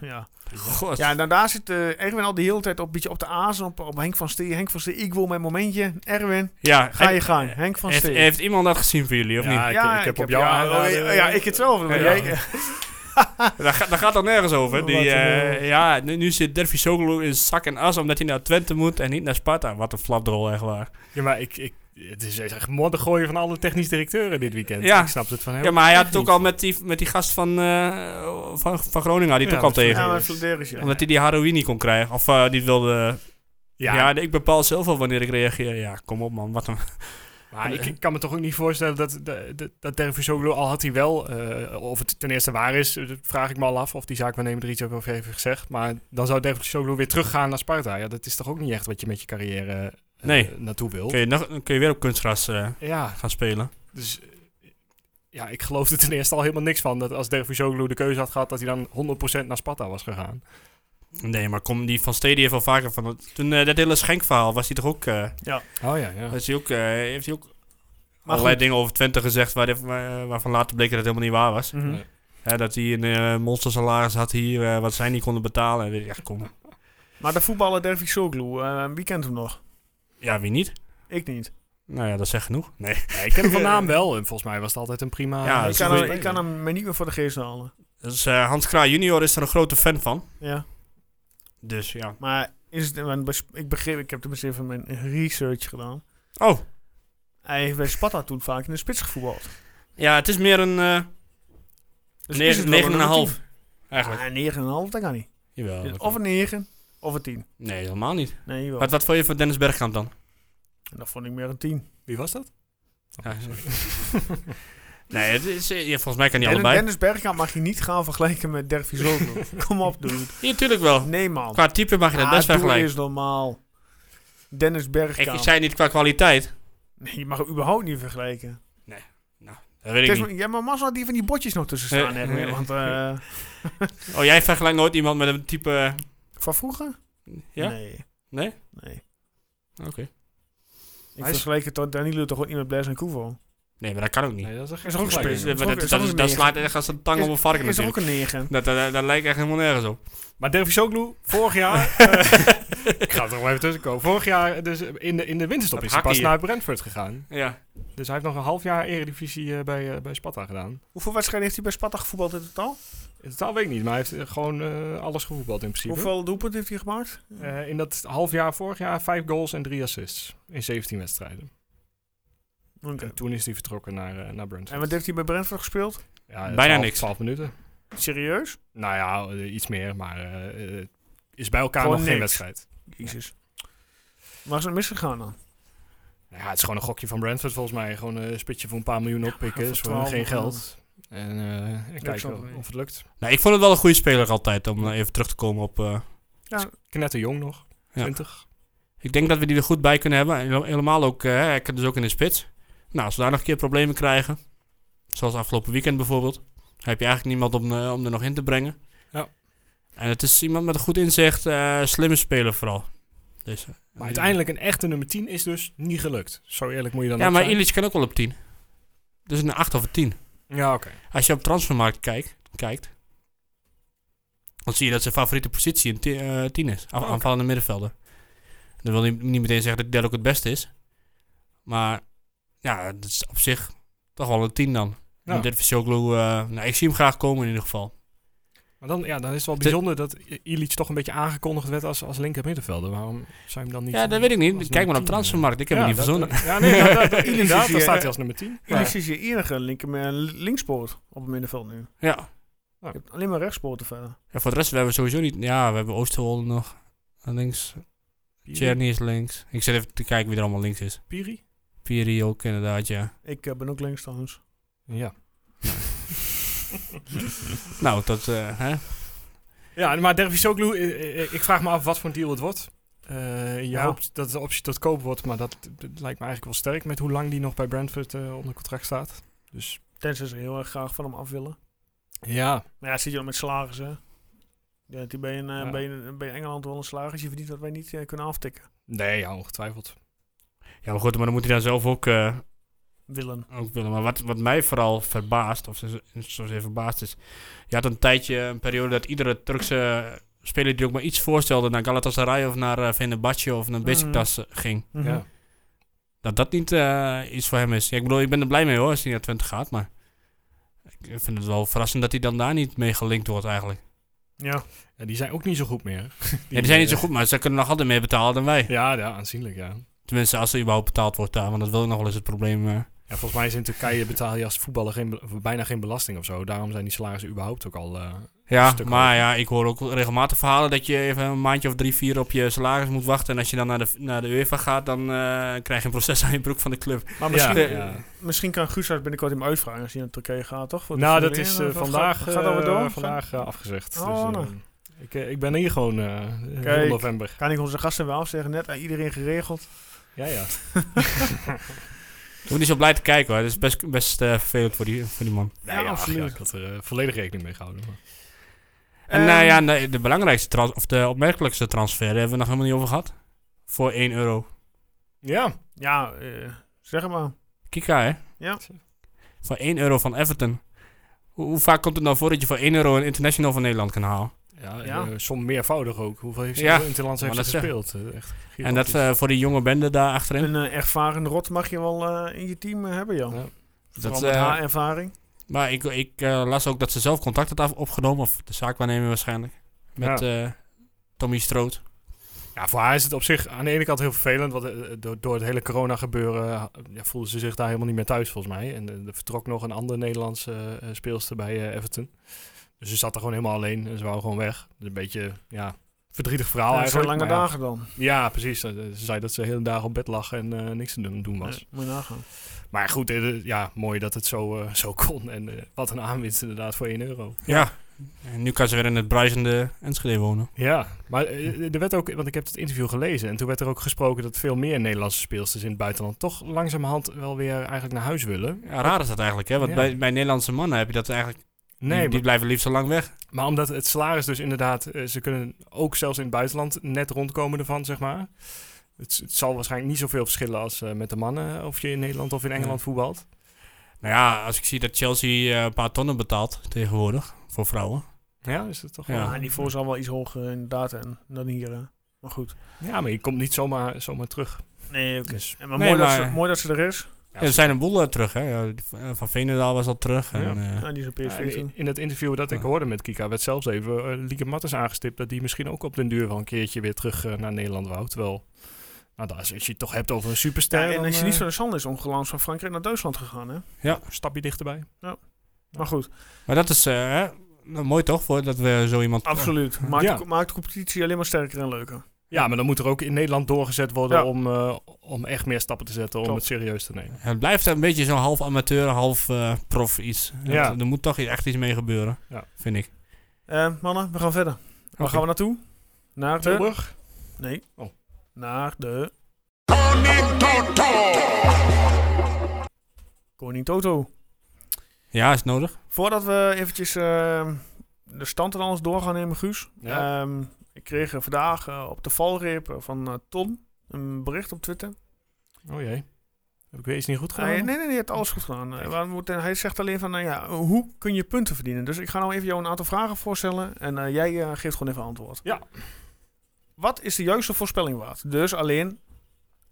Speaker 1: Ja,
Speaker 2: God.
Speaker 1: ja en dan, daar zit eh, Erwin al de hele tijd op, een beetje op de azen, op, op Henk van Stee. Henk van Stee, ik wil mijn momentje. Erwin,
Speaker 2: Ja,
Speaker 1: ga je
Speaker 2: heeft-
Speaker 1: gang. Henk van
Speaker 2: heeft,
Speaker 1: Stee.
Speaker 2: heeft iemand dat gezien voor jullie, of
Speaker 3: Ja,
Speaker 2: niet?
Speaker 3: ik, ik heb op jou
Speaker 1: ja,
Speaker 3: aanraden-
Speaker 1: oh, ja, ik hetzelfde. maar
Speaker 2: Ja.
Speaker 1: jij-
Speaker 2: Daar, gaat- daar gaat dan nergens
Speaker 3: Oh,
Speaker 2: over. Die,
Speaker 1: Wat een,
Speaker 2: eh,
Speaker 1: eh,
Speaker 2: ja, nu, nu zit Dervis Soglu in zak en as omdat hij naar Twente moet en niet naar Sparta. Wat een flapdrol, echt waar.
Speaker 3: Ja, maar ik, ik, het is echt modder gooien van alle technisch directeuren dit weekend.
Speaker 2: Ja.
Speaker 3: Ik snap het van hem.
Speaker 2: Ja, maar hij had het
Speaker 3: niet.
Speaker 2: ook al met die, met die gast van, eh, van, van Groningen had hij het
Speaker 3: Ja,
Speaker 2: ook al
Speaker 3: dat is-
Speaker 2: tegen.
Speaker 1: Ja, maar Vladeris, ja.
Speaker 2: Omdat hij die heroïne niet kon krijgen. Of eh, die wilde... Ja.
Speaker 3: Ja,
Speaker 2: ik bepaal zelf wel wanneer ik reageer. Ja, kom op man, wat een...
Speaker 3: maar ik, ik kan me toch ook niet voorstellen dat, dat, dat- dat Dervisoglu, al had hij wel, eh, of het ten eerste waar is, eh, dat vraag ik me al af, of die zaakwaarnemer er iets over heeft gezegd. Maar dan zou Dervisoglu weer teruggaan naar Sparta. Ja, dat is toch ook niet echt wat je met je carrière eh,
Speaker 2: Nee.
Speaker 3: naartoe wil.
Speaker 2: Kun je, nog, kun je weer op kunstgras eh,
Speaker 3: Ja,
Speaker 2: gaan spelen.
Speaker 3: dus eh, ja, ik geloof er ten eerste al helemaal niks van, dat als Dervisoglu de keuze had gehad, dat hij dan 100% naar Sparta was gegaan.
Speaker 2: Nee, maar kom, die van Stedie heeft al vaker van... dat- Toen eh, dat hele schenkverhaal was hij toch ook... eh,
Speaker 3: Oh ja, ja.
Speaker 2: was hij ook eh, heeft hij ook
Speaker 1: Maar
Speaker 2: allerlei
Speaker 1: goed.
Speaker 2: dingen over Twente gezegd waar, dit- waar- waarvan later bleek dat het helemaal niet waar was.
Speaker 1: Mhm.
Speaker 3: Nee.
Speaker 2: Hè, dat hij een monster monstersalaris had hier, eh, wat zij niet konden betalen. En weet ik, ja, kom.
Speaker 1: Maar de voetballer Dervi Soglu, eh, wie kent hem nog?
Speaker 2: ja, wie niet?
Speaker 1: Ik niet.
Speaker 2: Nou ja, dat zegt genoeg. Nee.
Speaker 3: Ja, ik ken hem van naam wel. En volgens mij was het altijd een prima...
Speaker 2: Ja, dat
Speaker 1: ik,
Speaker 2: is
Speaker 1: kan
Speaker 2: een
Speaker 1: hem,
Speaker 2: goeie-
Speaker 1: ik kan hem me niet meer voor de geest halen.
Speaker 2: Dus, eh, Hans Kraaij junior is er een grote fan van.
Speaker 1: Ja.
Speaker 2: Dus ja.
Speaker 1: Maar is het, want bes- ik begreep, ik heb tenminste even mijn research gedaan.
Speaker 2: Oh,
Speaker 1: Hij heeft bij Sparta toen vaak in de spits gevoetbald.
Speaker 2: ja, het is meer een eh
Speaker 1: Dus
Speaker 2: negen-
Speaker 1: is het wel
Speaker 2: negen en een
Speaker 1: nummer
Speaker 2: half,
Speaker 1: 10?
Speaker 2: eigenlijk.
Speaker 1: Ah, negen en een half, dat kan niet.
Speaker 2: Jawel.
Speaker 1: Dus
Speaker 2: dat
Speaker 1: of
Speaker 2: kan.
Speaker 1: een 9 of een 10.
Speaker 2: Nee, helemaal niet.
Speaker 1: Nee, jawel.
Speaker 2: Wat, wat vond je van Dennis Bergkamp dan?
Speaker 1: En dat vond ik meer een 10.
Speaker 3: Wie was dat?
Speaker 2: Ja, nee, het is, eh, ja, volgens mij kan hij
Speaker 1: En
Speaker 2: allebei.
Speaker 1: Dennis Bergkamp mag je niet gaan vergelijken met Dervi Soglu. Kom op, dude.
Speaker 2: Ja, natuurlijk wel.
Speaker 1: Nee, man.
Speaker 2: Qua type mag je dat
Speaker 1: Ah,
Speaker 2: best
Speaker 1: doe
Speaker 2: vergelijken.
Speaker 1: eens normaal. Dennis
Speaker 2: Ik, ik
Speaker 1: Bergkamp.
Speaker 2: zei niet qua kwaliteit.
Speaker 1: Nee, je mag hem überhaupt niet vergelijken.
Speaker 2: Dat weet ik
Speaker 1: Het
Speaker 2: niet.
Speaker 1: is- ja, maar Mas had die van die botjes nog tussen staan.
Speaker 2: Eh,
Speaker 1: Erwin,
Speaker 2: eh,
Speaker 1: want, eh,
Speaker 2: Oh, jij vergelijkt nooit iemand met een type. eh,
Speaker 1: van vroeger?
Speaker 2: Ja?
Speaker 1: Nee.
Speaker 2: Nee?
Speaker 1: Nee.
Speaker 2: Oké.
Speaker 1: Ik
Speaker 2: Hij is-
Speaker 1: vergelijk het tot Danilo toch ook niet met Blaise en Kuvo.
Speaker 2: Nee, maar dat kan ook niet.
Speaker 3: Nee, dat is echt
Speaker 1: Is er ook
Speaker 2: Dat,
Speaker 1: spits?
Speaker 2: is-
Speaker 1: Nee,
Speaker 2: maar
Speaker 1: dat is
Speaker 2: dat,
Speaker 1: ook- dat
Speaker 2: dat, is-
Speaker 1: is
Speaker 2: dat
Speaker 1: een
Speaker 2: slaat echt als een tang op een varken
Speaker 1: Is er ook
Speaker 2: natuurlijk.
Speaker 1: een negen?
Speaker 2: Dat, dat, dat, dat lijkt echt helemaal nergens op.
Speaker 3: Maar Dervisoglu, vorig jaar... eh, ik ga er nog wel even tussen komen. Vorig jaar, dus in de, in de winterstop,
Speaker 2: Dat
Speaker 3: is hij pas
Speaker 2: hakkie.
Speaker 3: naar Brentford gegaan.
Speaker 2: Ja.
Speaker 3: Dus hij heeft nog een half jaar eredivisie eh, bij, eh, bij Sparta gedaan.
Speaker 1: Hoeveel wedstrijden heeft hij bij Sparta gevoetbald in totaal?
Speaker 3: In totaal weet ik niet, maar hij heeft eh, gewoon eh, alles gevoetbald in principe.
Speaker 1: Hoeveel doelpunten heeft hij gemaakt?
Speaker 3: Eh, in dat half jaar vorig jaar vijf goals en drie assists in 17 wedstrijden.
Speaker 1: Oké.
Speaker 3: En toen is hij vertrokken naar, eh, naar Brentford.
Speaker 1: En wat heeft hij bij Brentford gespeeld?
Speaker 3: Ja,
Speaker 2: Bijna
Speaker 3: 12
Speaker 2: niks.
Speaker 3: 12 minuten.
Speaker 1: Serieus?
Speaker 3: Nou ja, eh, iets meer, maar eh, eh, is bij elkaar
Speaker 1: Gewoon
Speaker 3: nog geen
Speaker 1: niks.
Speaker 3: wedstrijd.
Speaker 1: Jezus. Waar is het misgegaan dan?
Speaker 3: Nou Ja, het is gewoon een gokje van Brentford volgens mij. Gewoon eh, een spitje voor een paar miljoen oppikken.
Speaker 1: voor
Speaker 3: is gewoon
Speaker 1: 12
Speaker 3: geen
Speaker 1: miljoen.
Speaker 3: geld. En, eh, en kijken
Speaker 1: zal het
Speaker 3: of het lukt.
Speaker 2: Nou, ik vond het wel een goede speler altijd, om eh, even terug te komen op... eh,
Speaker 3: Knetterjong nog.
Speaker 2: Ja.
Speaker 3: 20.
Speaker 2: ik denk dat we die er goed bij kunnen hebben. En hele- helemaal ook, eh, hij kan dus ook in de spits. Nou, als we daar nog een keer problemen krijgen, zoals afgelopen weekend bijvoorbeeld, dan heb je eigenlijk niemand om, eh, om er nog in te brengen.
Speaker 3: Ja.
Speaker 2: En het is iemand met een goed inzicht, eh, slimme speler vooral. Dus, eh,
Speaker 3: Maar uiteindelijk een echte nummer 10 is dus niet gelukt. Zo eerlijk moet je dan
Speaker 2: Ja,
Speaker 3: ook
Speaker 2: maar
Speaker 3: zijn.
Speaker 2: Illich kan ook wel op 10. Dus een 8 of een 10.
Speaker 3: Ja, oké.
Speaker 2: Als je op transfermarkt kijkt, kijkt dan zie je dat zijn favoriete positie een 10 is. Af-
Speaker 3: oké.
Speaker 2: Aanvallende middenvelder. Dat wil niet niet meteen zeggen dat hij dat ook het beste is. Maar ja, dat is op zich toch wel een 10 dan.
Speaker 3: Ja.
Speaker 2: En dit is Sjoglu, eh, nou, ik zie hem graag komen in ieder geval.
Speaker 3: Maar dan, ja, dan is het wel bijzonder dat Illich toch een beetje aangekondigd werd als, als linker middenvelder. Waarom zou je hem dan niet...
Speaker 2: Ja, dat weet ik
Speaker 3: als
Speaker 2: niet. Kijk
Speaker 3: nummer
Speaker 2: maar op
Speaker 3: 10
Speaker 2: transfermarkt. Ik heb
Speaker 3: Ja,
Speaker 2: hem niet
Speaker 3: dat- eh.
Speaker 2: verzonnen.
Speaker 3: Ja, nee, dat, dat, dat-
Speaker 1: Illich
Speaker 3: inderdaad.
Speaker 1: is
Speaker 3: Dan
Speaker 1: hier,
Speaker 3: staat hij
Speaker 1: eh,
Speaker 3: als nummer 10.
Speaker 1: Jullie is je enige linker, linkspoort op het middenveld nu.
Speaker 2: Ja.
Speaker 1: Je hebt alleen maar rechtspoorten verder.
Speaker 2: ja, voor de rest we hebben we sowieso niet... Ja, we hebben Oosterwolde nog. En Links.
Speaker 3: Piri?
Speaker 2: Cherny is links. Ik zit even te kijken wie er allemaal links is.
Speaker 3: Piri?
Speaker 2: Piri ook inderdaad, ja.
Speaker 1: Ik eh, ben ook links trouwens.
Speaker 3: Ja.
Speaker 2: Nou, dat... eh, hè? Nou,
Speaker 3: eh, Ja, maar Dervisoglu, eh, eh, ik vraag me af wat voor een deal het wordt. Eh, je
Speaker 1: Ja.
Speaker 3: hoopt dat de optie tot koop wordt, maar dat, dat lijkt me eigenlijk wel sterk met hoe lang die nog bij Brentford eh, onder contract staat. Dus
Speaker 1: Tenzij ze heel erg graag van hem af willen.
Speaker 3: ja,
Speaker 1: Maar ja, zit je dan met slagers, hè? Ja, die bij, een, eh,
Speaker 3: Ja.
Speaker 1: bij, een- bij Engeland wel een slagers. Je verdient wat wij niet eh, kunnen aftikken.
Speaker 3: nee, ja, ongetwijfeld.
Speaker 2: Ja, maar goed, maar dan moet hij daar zelf ook, eh,
Speaker 1: Willen.
Speaker 2: ook willen. Maar wat, wat mij vooral verbaast, of zo- zozeer verbaasd is... Je had een tijdje, een periode dat iedere Turkse speler die ook maar iets voorstelde... naar Galatasaray of naar eh Fenerbahce of naar Beşiktaş ging.
Speaker 1: Mhm.
Speaker 3: Ja.
Speaker 2: Dat dat niet eh, iets voor hem is. Ja, ik bedoel, ik ben er blij mee hoor, als hij naar Twente gaat, maar... Ik vind het wel verrassend dat hij dan daar niet mee gelinkt wordt eigenlijk.
Speaker 1: Ja.
Speaker 3: Ja, die zijn ook niet zo goed meer. Die,
Speaker 2: Ja, die zijn niet zo
Speaker 3: eh,
Speaker 2: goed, maar ze kunnen nog altijd meer betalen dan wij.
Speaker 3: Ja, ja, aanzienlijk, ja.
Speaker 2: Tenminste, als er überhaupt betaald wordt daar, want dat wil ik nog wel eens het probleem. eh.
Speaker 3: Ja, volgens mij is in Turkije betaal je als voetballer geen, be- bijna geen belasting of zo. Daarom zijn die salarissen überhaupt ook al... eh,
Speaker 2: Ja,
Speaker 3: Stuk
Speaker 2: maar
Speaker 3: hoger.
Speaker 2: ja, ik hoor ook regelmatig verhalen dat je even een maandje of drie, vier op je salaris moet wachten. En als je dan naar de, naar de UEFA gaat, dan eh, krijg je een proces aan je broek van de club.
Speaker 1: Maar misschien,
Speaker 3: ja,
Speaker 1: eh,
Speaker 3: ja.
Speaker 1: misschien kan Guus uit binnenkort hem uitvragen als hij naar Turkije gaat, toch? Voor de
Speaker 3: Nou, dat
Speaker 1: Formule
Speaker 3: is
Speaker 1: 1
Speaker 3: eh,
Speaker 1: of wat?
Speaker 3: vandaag,
Speaker 1: Gaat, gaat dat weer
Speaker 3: eh,
Speaker 1: door?
Speaker 3: vandaag eh, afgezegd.
Speaker 1: Oh,
Speaker 3: dus, eh,
Speaker 1: nou.
Speaker 3: ik, eh, ik ben hier gewoon eh heel
Speaker 1: Kijk.
Speaker 3: november.
Speaker 1: Kan ik onze gasten wel afzeggen? Net aan iedereen geregeld.
Speaker 3: Ja, ja.
Speaker 2: Je moet niet zo blij te kijken hoor, dat is best, best eh, vervelend voor die, voor die man.
Speaker 1: Ja,
Speaker 3: ach,
Speaker 1: absoluut.
Speaker 3: ik had er eh, volledig rekening mee gehouden. maar-
Speaker 2: En
Speaker 1: Ehm,
Speaker 2: nou ja, de, de belangrijkste, trans- of de opmerkelijkste transfer, daar hebben we nog helemaal niet over gehad. Voor 1 euro.
Speaker 3: Ja,
Speaker 1: Ja, eh, zeg het maar.
Speaker 2: Kika hè?
Speaker 1: Ja.
Speaker 2: Voor 1 euro van Everton. Hoe, hoe vaak komt het nou voor dat je voor 1 euro een international van Nederland kan halen?
Speaker 3: ja,
Speaker 1: Ja.
Speaker 3: eh, som meervoudig ook. Hoeveel heeft ze
Speaker 2: Ja,
Speaker 3: in het land heeft
Speaker 2: maar
Speaker 3: ze
Speaker 2: dat
Speaker 3: gespeeld? Eh, Echt gigantisch.
Speaker 2: En dat eh, voor die jonge bende daar achterin.
Speaker 1: Een eh, ervaren rot mag je wel eh, in je team eh, hebben, Jan.
Speaker 3: Ja.
Speaker 1: Vooral
Speaker 2: Dat,
Speaker 1: met
Speaker 2: eh,
Speaker 1: haar ervaring.
Speaker 2: Maar ik, ik eh, las ook dat ze zelf contact had af- opgenomen, of de zaakwaarnemer waarschijnlijk, met eh, Tommy Stroot.
Speaker 3: Ja, voor haar is het op zich aan de ene kant heel vervelend. Want eh, door, door het hele corona gebeuren ja, voelde ze zich daar helemaal niet meer thuis volgens mij. En eh, er vertrok nog een andere Nederlandse eh, eh, speelster bij eh, Everton. Dus ze zat er gewoon helemaal alleen en ze wou gewoon weg. Dus een beetje, ja, verdrietig verhaal
Speaker 1: Ja, zo'n
Speaker 3: eigenlijk.
Speaker 1: lange
Speaker 3: maar ja.
Speaker 1: dagen dan.
Speaker 3: Ja, precies. Eh, Ze zei dat ze de hele dag op bed lag en eh, niks te doen- doen was.
Speaker 1: Ja, moet je nagaan.
Speaker 3: Maar goed, eh, de- ja, mooi dat het zo, eh, zo kon. En eh, wat een aanwinst inderdaad voor 1 euro.
Speaker 2: Ja. En nu kan ze weer in het bruisende Enschede wonen.
Speaker 3: Ja, maar eh, er werd ook, want ik heb het interview gelezen en toen werd er ook gesproken dat veel meer Nederlandse speelsters in het buitenland toch langzamerhand wel weer eigenlijk naar huis willen.
Speaker 2: Ja, raar is dat eigenlijk, hè? Want
Speaker 3: Ja.
Speaker 2: bij, bij Nederlandse mannen heb je dat eigenlijk... die,
Speaker 3: Nee,
Speaker 2: die
Speaker 3: maar,
Speaker 2: blijven liefst zo lang weg.
Speaker 3: maar omdat het salaris dus inderdaad, eh, ze kunnen ook zelfs in het buitenland net rondkomen ervan, zeg maar. Het, het zal waarschijnlijk niet zoveel verschillen als eh, met de mannen, of je in Nederland of in Engeland voetbalt.
Speaker 2: Nou ja, als ik zie dat Chelsea eh, een paar tonnen betaalt tegenwoordig voor vrouwen.
Speaker 3: Ja, is dat toch
Speaker 2: Ja.
Speaker 1: Ja,
Speaker 3: wel...
Speaker 1: het niveau is al wel iets hoger inderdaad en, dan hier. hè. Maar goed.
Speaker 3: Ja, maar je komt niet zomaar, zomaar terug.
Speaker 1: Nee, oké.
Speaker 3: Dus,
Speaker 1: En Maar,
Speaker 2: Nee,
Speaker 1: mooi, Dat
Speaker 2: maar-
Speaker 1: ze, mooi dat ze er is.
Speaker 2: Ja, er zijn een boel eh, terug, hè? Ja, die van- eh, van Veenendaal was al terug. En,
Speaker 3: Ja.
Speaker 2: eh,
Speaker 1: Ja, die is op
Speaker 3: ja,
Speaker 1: PSV
Speaker 3: in,
Speaker 1: toen.
Speaker 3: in het interview dat ik
Speaker 2: Ja.
Speaker 3: hoorde met Kika werd zelfs even eh, Lieke Matters aangestipt dat die misschien ook op den duur wel een keertje weer terug eh, naar Nederland wou. Terwijl, nou, daar, als je het toch hebt over een superster,
Speaker 1: Ja, en
Speaker 3: dan,
Speaker 1: als je niet
Speaker 3: eh,
Speaker 1: zo de Sander is omgeland van Frankrijk naar Duitsland gegaan, hè?
Speaker 3: een stapje dichterbij.
Speaker 1: Maar goed,
Speaker 2: Maar dat is eh, hè, nou, mooi toch, voor dat we zo iemand...
Speaker 1: absoluut. Maakt,
Speaker 3: Ja.
Speaker 1: de, maakt de competitie alleen maar sterker en leuker.
Speaker 3: Ja, maar dan moet er ook in Nederland doorgezet worden
Speaker 1: Ja.
Speaker 3: om, eh, om echt meer stappen te zetten, om
Speaker 1: Klopt.
Speaker 3: het serieus te nemen.
Speaker 2: Het blijft een beetje zo'n half amateur, half eh, prof iets.
Speaker 3: Ja.
Speaker 2: Het- er moet toch echt iets mee gebeuren,
Speaker 3: Ja.
Speaker 2: vind ik.
Speaker 1: Eh, mannen, we gaan verder. Waar
Speaker 2: Oké.
Speaker 1: gaan we naartoe? Naar de...
Speaker 3: Tilburg?
Speaker 1: Nee.
Speaker 3: Oh.
Speaker 1: Naar de... Koning Toto! Koning Toto.
Speaker 2: Ja, is nodig.
Speaker 1: Voordat we eventjes eh, de stand en alles door gaan nemen, Guus.
Speaker 3: Ja.
Speaker 1: Ehm, ik kreeg eh, vandaag eh, op de valreep eh, van eh, Ton een bericht op Twitter.
Speaker 3: Oh jee. Heb ik weer iets niet goed gedaan?
Speaker 1: Hij, Ah, nee, nee, nee, hij heeft alles goed gedaan. Eh, maar moet- hij zegt alleen van, nou ja, hoe kun je punten verdienen? Dus ik ga nou even jou een aantal vragen voorstellen en eh, jij eh, geeft gewoon even antwoord.
Speaker 3: Ja.
Speaker 1: Wat is de juiste voorspelling waard? Dus alleen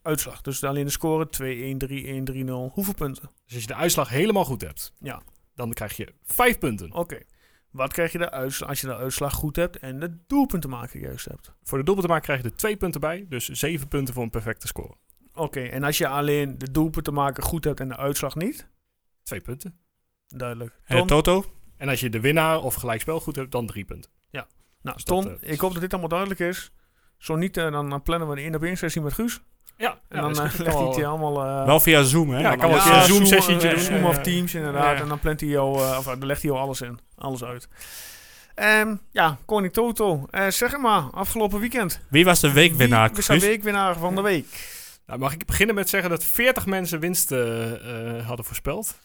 Speaker 1: uitslag. Dus alleen de score 2-1, 3-1, 3-0. Hoeveel punten?
Speaker 3: Dus als je de uitslag helemaal goed hebt,
Speaker 1: Ja.
Speaker 3: dan krijg je vijf punten.
Speaker 1: Oké. Wat krijg je de uitslag als je de uitslag goed hebt en de doelpunten maken juist hebt?
Speaker 3: Voor de doelpunt te maken krijg je er twee punten bij, dus zeven punten voor een perfecte score.
Speaker 1: Oké, en als je alleen de doelpunten maken goed hebt en de uitslag niet?
Speaker 3: Twee punten.
Speaker 1: Duidelijk.
Speaker 2: En
Speaker 1: Ton,
Speaker 2: Eh, Toto?
Speaker 3: En als je de winnaar of gelijkspel goed hebt, dan drie punten.
Speaker 1: nou,
Speaker 3: dat,
Speaker 1: Ton
Speaker 3: eh,
Speaker 1: ik hoop dat dit allemaal duidelijk is. Zo niet, eh, dan eh, plannen we een één-op-één sessie met Guus.
Speaker 3: Ja,
Speaker 1: En dan eh, legt hij het je allemaal... eh,
Speaker 2: Wel via Zoom, hè?
Speaker 3: Ja,
Speaker 2: Want
Speaker 3: kan wel
Speaker 2: anders-
Speaker 3: via
Speaker 2: Ja,
Speaker 3: Zoom.
Speaker 1: Zoom
Speaker 3: sessietje
Speaker 1: eh,
Speaker 3: doen.
Speaker 1: Zoom
Speaker 3: Ja,
Speaker 1: of
Speaker 3: ja.
Speaker 1: Teams inderdaad.
Speaker 2: Ja.
Speaker 1: En dan plant hij jou, eh, of, eh, dan legt hij jou alles in. Alles uit. Ehm, ja, Koning Toto. Eh, zeg het maar, afgelopen weekend.
Speaker 2: Wie was de weekwinnaar,
Speaker 1: Wie is de
Speaker 2: Guus?
Speaker 1: weekwinnaar van de week?
Speaker 3: Nou, mag ik beginnen met zeggen dat 40 mensen winst eh, eh, hadden voorspeld.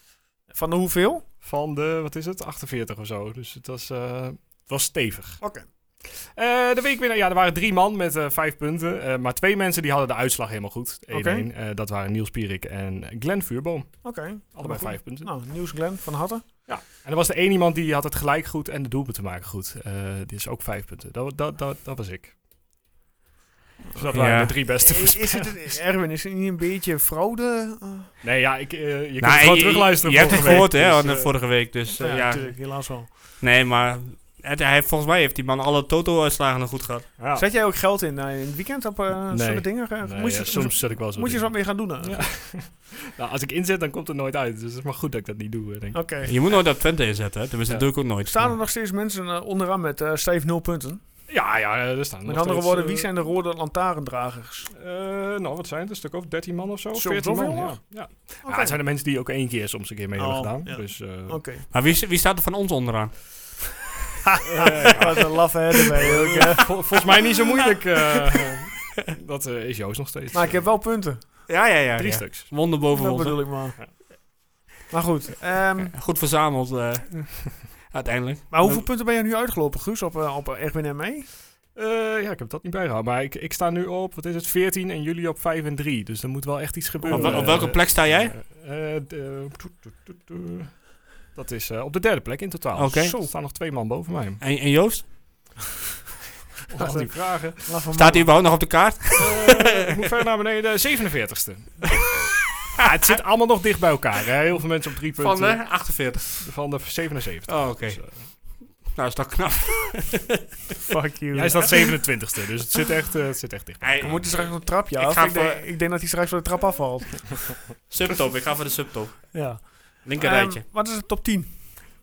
Speaker 1: Van de hoeveel? Oké.
Speaker 3: Van de, wat is het, 48 of zo. Dus het was, eh, het was stevig. Eh, de weekwinnaar, ja, er waren drie man met eh, vijf punten. Eh, maar twee mensen die hadden de uitslag helemaal goed. 1-1.
Speaker 1: Oké.
Speaker 3: Eh, dat waren Niels Pierik en Glenn Vuurboom.
Speaker 1: Oké.
Speaker 3: Allebei
Speaker 1: goed.
Speaker 3: vijf punten.
Speaker 1: Nou, nieuws Glenn van Hatten.
Speaker 3: En er was de één iemand die had het gelijk goed en de doelpunt te maken goed. Eh dit is ook vijf punten. Dat, dat, dat, dat was ik. Dus dat waren
Speaker 2: Ja.
Speaker 3: de drie beste
Speaker 1: Is is het, is- Erwin, is het niet een beetje fraude? Eh,
Speaker 3: Nee, ja, ik, eh, je kunt
Speaker 2: Nou,
Speaker 3: het gewoon
Speaker 2: je-
Speaker 3: terugluisteren.
Speaker 2: Je hebt het
Speaker 3: vorige week.
Speaker 2: gehoord, hè,
Speaker 3: Dus,
Speaker 2: aan de
Speaker 3: eh,
Speaker 2: vorige week. Dus eh, ja,
Speaker 1: natuurlijk, helaas wel.
Speaker 2: nee, maar het, hij, heeft- volgens mij heeft die man alle Toto-uitslagen nog goed gehad.
Speaker 3: ja.
Speaker 1: Zet jij ook geld in eh, in het weekend op eh
Speaker 3: Nee.
Speaker 1: zulke dingen? Eh,
Speaker 3: Nee,
Speaker 1: moet je,
Speaker 3: ja, soms zet ik wel zo.
Speaker 1: moet je eens wat
Speaker 3: dingen.
Speaker 1: mee gaan doen? eh?
Speaker 3: Ja. Nou, als ik inzet, dan komt het nooit uit. Dus het is maar goed dat ik dat niet doe, eh, denk ik.
Speaker 1: Oké.
Speaker 2: Je moet nooit dat Twente inzetten, hè. Tenminste,
Speaker 3: Ja.
Speaker 2: dat doe ik ook nooit.
Speaker 1: Staan er nog steeds mensen eh, onderaan met eh stijf nul punten?
Speaker 3: Ja, ja, eh, er staan
Speaker 1: Met
Speaker 3: nog
Speaker 1: andere
Speaker 3: steeds,
Speaker 1: woorden,
Speaker 3: eh,
Speaker 1: wie zijn de rode lantaarndragers?
Speaker 3: eh, nou, wat zijn het? Een stuk of 13 man of zo?
Speaker 1: Zo,
Speaker 3: 14 man,
Speaker 1: zoveel
Speaker 3: ja.
Speaker 1: nog?
Speaker 3: ja.
Speaker 1: Oké.
Speaker 3: Ja, het zijn de mensen die ook één keer soms een keer mee
Speaker 1: Oh,
Speaker 3: hebben gedaan.
Speaker 1: ja.
Speaker 3: Dus, eh,
Speaker 1: Oké.
Speaker 2: Maar wie, wie staat er van ons onderaan?
Speaker 1: Wat een laffe herder ben je ook, hè?
Speaker 3: vol- volgens mij niet zo moeilijk. eh, dat eh, is Joost nog steeds.
Speaker 1: Maar ik heb wel punten.
Speaker 2: Ja, ja, ja.
Speaker 3: Drie
Speaker 2: ja.
Speaker 3: stuks.
Speaker 2: Wonder boven
Speaker 1: Dat
Speaker 2: ons. hè.
Speaker 1: bedoel ik maar. Maar goed. ehm,
Speaker 2: Goed verzameld, eh, uiteindelijk.
Speaker 1: maar hoeveel punten ben je nu uitgelopen, Guus, op, eh, op Erwin en mij?
Speaker 3: Eh, ja, ik heb dat niet bijgehouden. Maar ik, ik sta nu op, wat is het, 14 en jullie op 5 en 3. Dus er moet wel echt iets gebeuren.
Speaker 2: Op, wel- op
Speaker 3: Eh,
Speaker 2: welke plek sta jij?
Speaker 3: Eh, eh, de- toet, toet, toet, toet. dat is eh, op de derde plek in totaal.
Speaker 2: Oké.
Speaker 3: Zo, Er staan nog twee man boven mij.
Speaker 2: En, en Joost? Oh,
Speaker 3: Al die vragen.
Speaker 2: Staat hij überhaupt nog op de kaart?
Speaker 3: Eh, ik moet verder naar beneden. 47ste. Ja, het zit allemaal nog dicht bij elkaar. Hè. Heel veel mensen op drie punten.
Speaker 2: Van de 48.
Speaker 3: Van de 77.
Speaker 2: Oh, oké.
Speaker 3: Dus, eh,
Speaker 2: Nou, is dat knap.
Speaker 1: Fuck you.
Speaker 3: hij staat 27ste, dus het zit echt, eh, het zit echt dicht. bij
Speaker 2: Hey,
Speaker 1: We
Speaker 2: ik moet
Speaker 1: moeten straks op de trapje
Speaker 2: Ik
Speaker 1: af.
Speaker 2: ga
Speaker 1: Ik, denk-
Speaker 2: voor-
Speaker 1: ik denk dat hij straks van de trap afvalt.
Speaker 2: subtop. Ik ga voor de subtop.
Speaker 1: Ja.
Speaker 2: Linker rijtje.
Speaker 1: Ehm, wat is de top 10?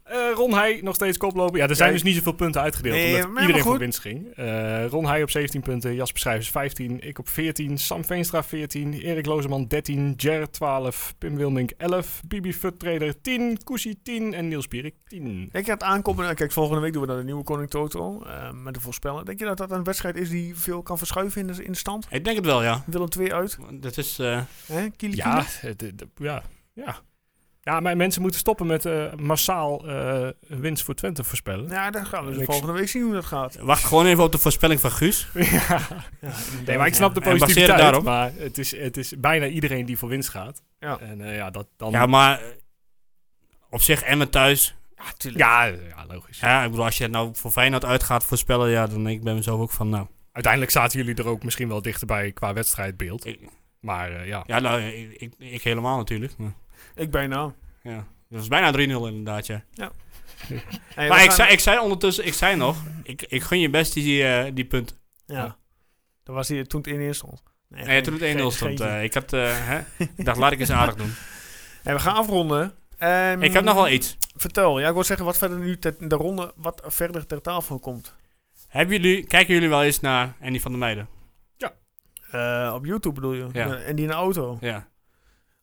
Speaker 3: Eh, Ron Heij nog steeds koplopen. Ja, er zijn
Speaker 1: Kijk.
Speaker 3: dus niet zoveel punten uitgedeeld.
Speaker 1: Nee, maar
Speaker 3: omdat
Speaker 1: maar
Speaker 3: iedereen
Speaker 1: goed.
Speaker 3: voor winst ging. Eh, Ron Heij op 17 punten. Jasper Schrijvers 15. Ik op 14. Sam Veenstra 14. Erik Lozeman 13. Jared 12. Pim Wilmink 11. Bibi Futtrader 10. Kusi 10. En Niels Pierik 10.
Speaker 1: Denk je dat aankomen... eh, Kijk, volgende week doen we dan de nieuwe Koning Toto. eh, met de voorspellen. Denk je dat dat een wedstrijd is die veel kan verschuiven in de, in de stand?
Speaker 2: Ik denk het wel, ja.
Speaker 1: Willem 2 uit.
Speaker 2: Dat is... eh,
Speaker 1: Hè? Kili
Speaker 3: Ja,
Speaker 1: kili.
Speaker 3: het- het- ja, ja. Ja, maar mensen moeten stoppen met eh, massaal eh, winst voor Twente voorspellen.
Speaker 1: Ja, dan gaan we dus
Speaker 3: Niks.
Speaker 1: volgende week zien hoe dat gaat.
Speaker 2: wacht gewoon even op de voorspelling van Guus.
Speaker 3: Ja. Nee, maar ik snap de
Speaker 2: En baseren
Speaker 3: positiviteit.
Speaker 2: daarop.
Speaker 3: Maar het is, het is bijna iedereen die voor winst gaat.
Speaker 1: Ja.
Speaker 3: En eh, ja, dat dan...
Speaker 2: Ja, maar eh, op zich Emmen thuis.
Speaker 1: Ja, tuurlijk.
Speaker 3: Ja, ja, logisch.
Speaker 2: Ja, ik bedoel, als je het nou voor Feyenoord uit gaat voorspellen, ja, dan denk ik bij mezelf ook van, nou...
Speaker 3: Uiteindelijk zaten jullie er ook misschien wel dichterbij qua wedstrijdbeeld.
Speaker 2: Ik,
Speaker 3: Maar eh, ja.
Speaker 2: ja, nou, ik, ik, ik helemaal natuurlijk. Maar,
Speaker 1: Ik nou. bijna.
Speaker 2: ja. Dat was bijna 3-0 inderdaad, ja.
Speaker 1: Hey,
Speaker 2: Maar
Speaker 1: we
Speaker 2: ik
Speaker 1: gaan-
Speaker 2: zei, ik zei ondertussen, ik zei nog, ik, ik gun je best die, eh, die punt.
Speaker 1: Ja. Dat was hij toen het in eerst stond. Nee,
Speaker 2: Nee, toen
Speaker 1: geen-
Speaker 2: het 1-0 stond.
Speaker 1: geen-
Speaker 2: eh, ik, had, eh, hè, ik dacht, laat ik eens aardig doen.
Speaker 1: Hey, we gaan afronden. Ehm,
Speaker 2: Ik heb nog wel iets.
Speaker 1: Vertel. Ja, ik wil zeggen wat verder nu ter, de ronde wat verder ter tafel komt.
Speaker 2: Hebben jullie, kijken jullie wel eens naar Andy van der Meijden?
Speaker 1: Eh, op YouTube bedoel je?
Speaker 2: Ja.
Speaker 1: Eh, en die in de auto.
Speaker 2: Ja.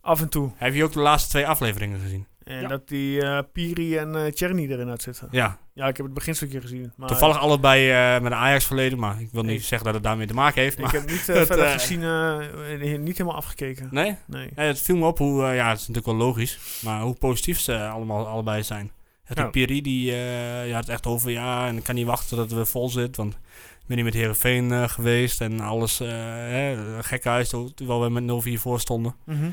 Speaker 1: Af en toe.
Speaker 2: Heb je ook de laatste twee afleveringen gezien?
Speaker 1: En
Speaker 3: Ja.
Speaker 1: dat die eh, Piri en eh Cherny erin had zitten.
Speaker 2: Ja.
Speaker 1: Ja, ik heb het beginstukje gezien. Maar
Speaker 2: Toevallig allebei eh, met een Ajax verleden, maar ik wil niet
Speaker 1: Ah, Ik-
Speaker 2: zeggen dat het daarmee te maken heeft.
Speaker 1: Ik
Speaker 2: Maar,
Speaker 1: heb niet eh,
Speaker 2: dat,
Speaker 1: verder
Speaker 2: eh,
Speaker 1: gezien, eh, eh, niet helemaal afgekeken.
Speaker 2: nee?
Speaker 1: Nee.
Speaker 2: Nee, het viel me op hoe, eh, ja, het is natuurlijk wel logisch, maar hoe positief ze allemaal allebei zijn. Het
Speaker 3: Ja.
Speaker 2: Piri die eh, ja, het echt over, ja, en ik kan niet wachten dat het weer vol zit, want ik ben niet met Herenveen geweest en alles, eh hè, gekke huis, terwijl we met 0-4 voor stonden.
Speaker 1: Mhm.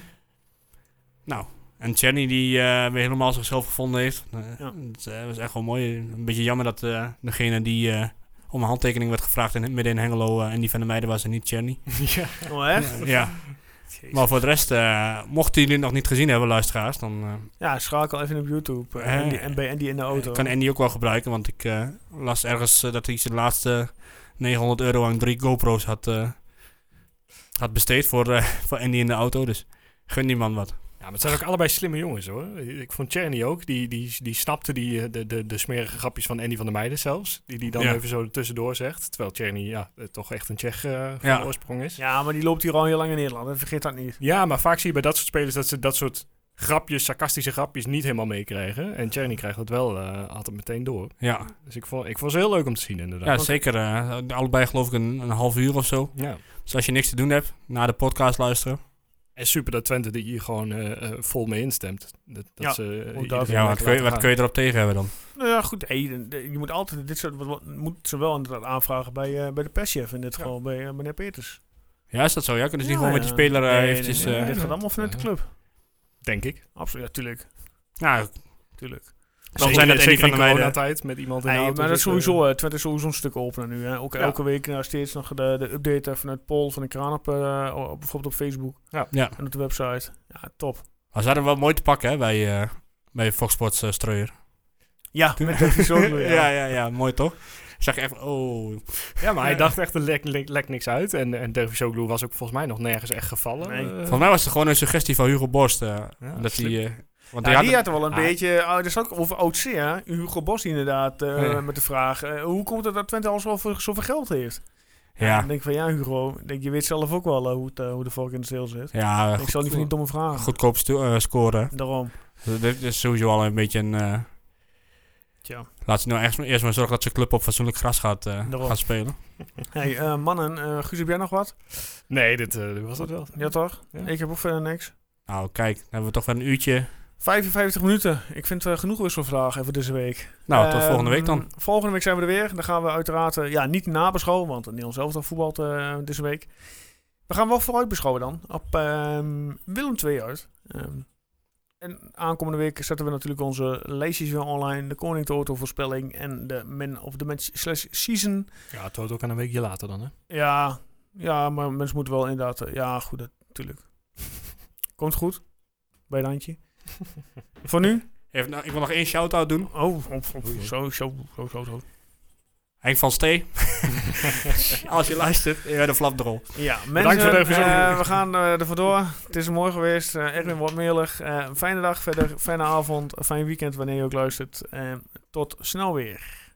Speaker 2: Nou, en Channy die eh, weer helemaal zichzelf gevonden heeft. Eh,
Speaker 1: Ja.
Speaker 2: Dat eh, was echt wel mooi. Een beetje jammer dat eh, degene die eh, om een handtekening werd gevraagd in, midden in Hengelo eh, en die van de meiden was en niet Channy.
Speaker 3: ja.
Speaker 1: Oh, echt?
Speaker 2: ja. Maar voor de rest, eh, mochten jullie het nog niet gezien hebben, luisteraars, dan eh,
Speaker 1: Ja, schakel even op YouTube. eh,
Speaker 2: Eh,
Speaker 1: en, die, en bij Andy in de auto.
Speaker 2: kan Andy ook wel gebruiken. Want ik eh, las ergens eh, dat hij zijn laatste 900 euro aan drie GoPro's had, eh, had besteed voor, eh, voor Andy in de auto. Dus gun die man wat.
Speaker 3: maar het zijn ook allebei slimme jongens hoor. Ik vond Cherny ook, die, die, die snapte die, eh, de, de, de smerige grapjes van Andy van der Meijden zelfs. Die die dan
Speaker 2: Ja.
Speaker 3: even zo tussendoor zegt. Terwijl Cherny ja, eh, toch echt een Tsjech eh, van
Speaker 2: Ja.
Speaker 3: oorsprong is.
Speaker 1: Ja, maar die loopt hier al heel lang in Nederland. hè. Vergeet dat niet.
Speaker 3: Ja, maar vaak zie je bij dat soort spelers dat ze dat soort grapjes, sarcastische grapjes niet helemaal meekregen. En Tjerny krijgt dat wel, eh, had het meteen door.
Speaker 2: Ja,
Speaker 3: Dus ik vond, ik vond ze heel leuk om te zien inderdaad.
Speaker 2: ja zeker. eh, allebei geloof ik een, een half uur of zo.
Speaker 3: Ja.
Speaker 2: Dus als je niks te doen hebt, naar de podcast luisteren.
Speaker 3: En super dat Twente die hier gewoon eh, eh, vol mee instemt. Dat, dat
Speaker 1: Ja,
Speaker 3: ze, eh,
Speaker 1: want
Speaker 3: iedereen
Speaker 1: dat-
Speaker 2: Ja, wat
Speaker 3: laten
Speaker 2: kun, je, wat
Speaker 3: gaan.
Speaker 2: kun je erop tegen hebben dan?
Speaker 1: Nou ja, goed. hey, de- de- je moet altijd dit soort wat- wat- moet ze wel inderdaad aanvragen bij, eh, bij de perschef. In dit geval bij eh, meneer Peters.
Speaker 2: Ja, is dat zo? Ja, kunnen ze niet
Speaker 1: Ja,
Speaker 2: gewoon
Speaker 1: ja.
Speaker 2: met die speler eh,
Speaker 1: Nee, nee,
Speaker 2: eventjes...
Speaker 1: nee, nee,
Speaker 2: eh,
Speaker 1: dit gaat allemaal vanuit de club.
Speaker 3: Denk ik.
Speaker 1: Absoluut, ja, tuurlijk.
Speaker 2: Nou,
Speaker 1: tuurlijk.
Speaker 2: dan zijn dat Eddie van
Speaker 3: in
Speaker 2: der Meijden.
Speaker 3: coronatijd met iemand in de
Speaker 1: Nee,
Speaker 3: auto
Speaker 1: maar dat is
Speaker 2: dus,
Speaker 3: zitten.
Speaker 1: sowieso, eh, Twente is sowieso een stuk opener nu. Hè. Ook
Speaker 3: Ja.
Speaker 1: elke week nou, steeds nog de, de update eh, vanuit Paul van de Kraan op, eh, op- bijvoorbeeld op Facebook
Speaker 2: Ja.
Speaker 1: en op de website. Ja, top.
Speaker 2: Maar ze hadden wel mooi te pakken hè, bij, eh, bij Fox Sports eh, Streuer.
Speaker 1: Ja, met de episode, ja.
Speaker 2: ja, ja, ja, mooi toch? Ik zag echt,
Speaker 1: Eh.
Speaker 2: oh...
Speaker 3: Ja, maar hij dacht echt, er lekt lek, lekt niks uit. En, en Dervisoglu was ook volgens mij nog nergens echt gevallen.
Speaker 1: Nee.
Speaker 3: Eh,
Speaker 2: Volgens mij was het gewoon een suggestie van Hugo Borst. eh, dat hij...
Speaker 3: slim.
Speaker 2: eh, want
Speaker 1: Ja,
Speaker 2: die
Speaker 1: Nou, die
Speaker 2: had-
Speaker 1: had er wel een
Speaker 3: Ah.
Speaker 1: beetje. Oh, dat is ook over oud hè? Hugo Bos, inderdaad. eh,
Speaker 2: Ja.
Speaker 1: Met de vraag: eh, hoe komt het dat Twente al zoveel, zoveel geld heeft?
Speaker 2: ja,
Speaker 1: Dan denk ik van ja, Hugo. ik Denk, je weet zelf ook wel eh, hoe, het, eh, hoe de vork in de steel zit.
Speaker 2: ja,
Speaker 1: ik zal niet van die domme vragen.
Speaker 2: goedkoop stu- eh, scoren.
Speaker 1: Daarom.
Speaker 2: Dus Dit is sowieso al een beetje een... eh,
Speaker 1: Tja.
Speaker 2: laat ze nou echt, maar- eerst maar zorgen dat zijn club op fatsoenlijk gras gaat, eh,
Speaker 1: Daarom.
Speaker 2: gaat spelen.
Speaker 1: Hey, eh, mannen, eh, Guus, heb jij nog wat?
Speaker 3: nee, dit, eh, dit was dat wel.
Speaker 1: Ja, toch?
Speaker 3: Ja.
Speaker 1: Ik heb ook verder niks.
Speaker 2: Nou, kijk, dan hebben we toch weer een uurtje.
Speaker 1: 55 minuten. Ik vind eh, genoeg wisselvragen even deze week.
Speaker 2: Nou, tot
Speaker 1: Ehm,
Speaker 2: volgende week dan.
Speaker 1: Volgende week zijn we er weer. Dan gaan we uiteraard eh, ja, niet nabeschouwen, want Nederland zelf al voetbalt eh, deze week. We gaan wel vooruit beschouwen dan. Op ehm, Willem 2 uit. Ehm, en aankomende week zetten we natuurlijk onze lijstjes weer online. De Koning Toto voorspelling en de Man of the Match slash season.
Speaker 3: Ja, het hoort ook aan een weekje later dan, hè?
Speaker 1: Ja, ja, maar mensen moeten wel inderdaad... eh, Ja, goed, dat- natuurlijk. Komt goed. Bij het handje. Voor nu?
Speaker 2: Even, nou, ik wil nog één shout-out doen.
Speaker 1: Oh, op, op, zo, zo, zo, zo, zo.
Speaker 2: Henk van Stee. Als je luistert, je bent een flapdrol.
Speaker 1: Ja, mensen,
Speaker 3: voor de revisie.
Speaker 1: eh, we gaan eh, er vandoor. Het is mooi geweest. Eh, Erwin wordt melig. Eh, fijne dag verder, fijne avond, een fijn weekend wanneer je ook luistert. En Eh, tot snel weer.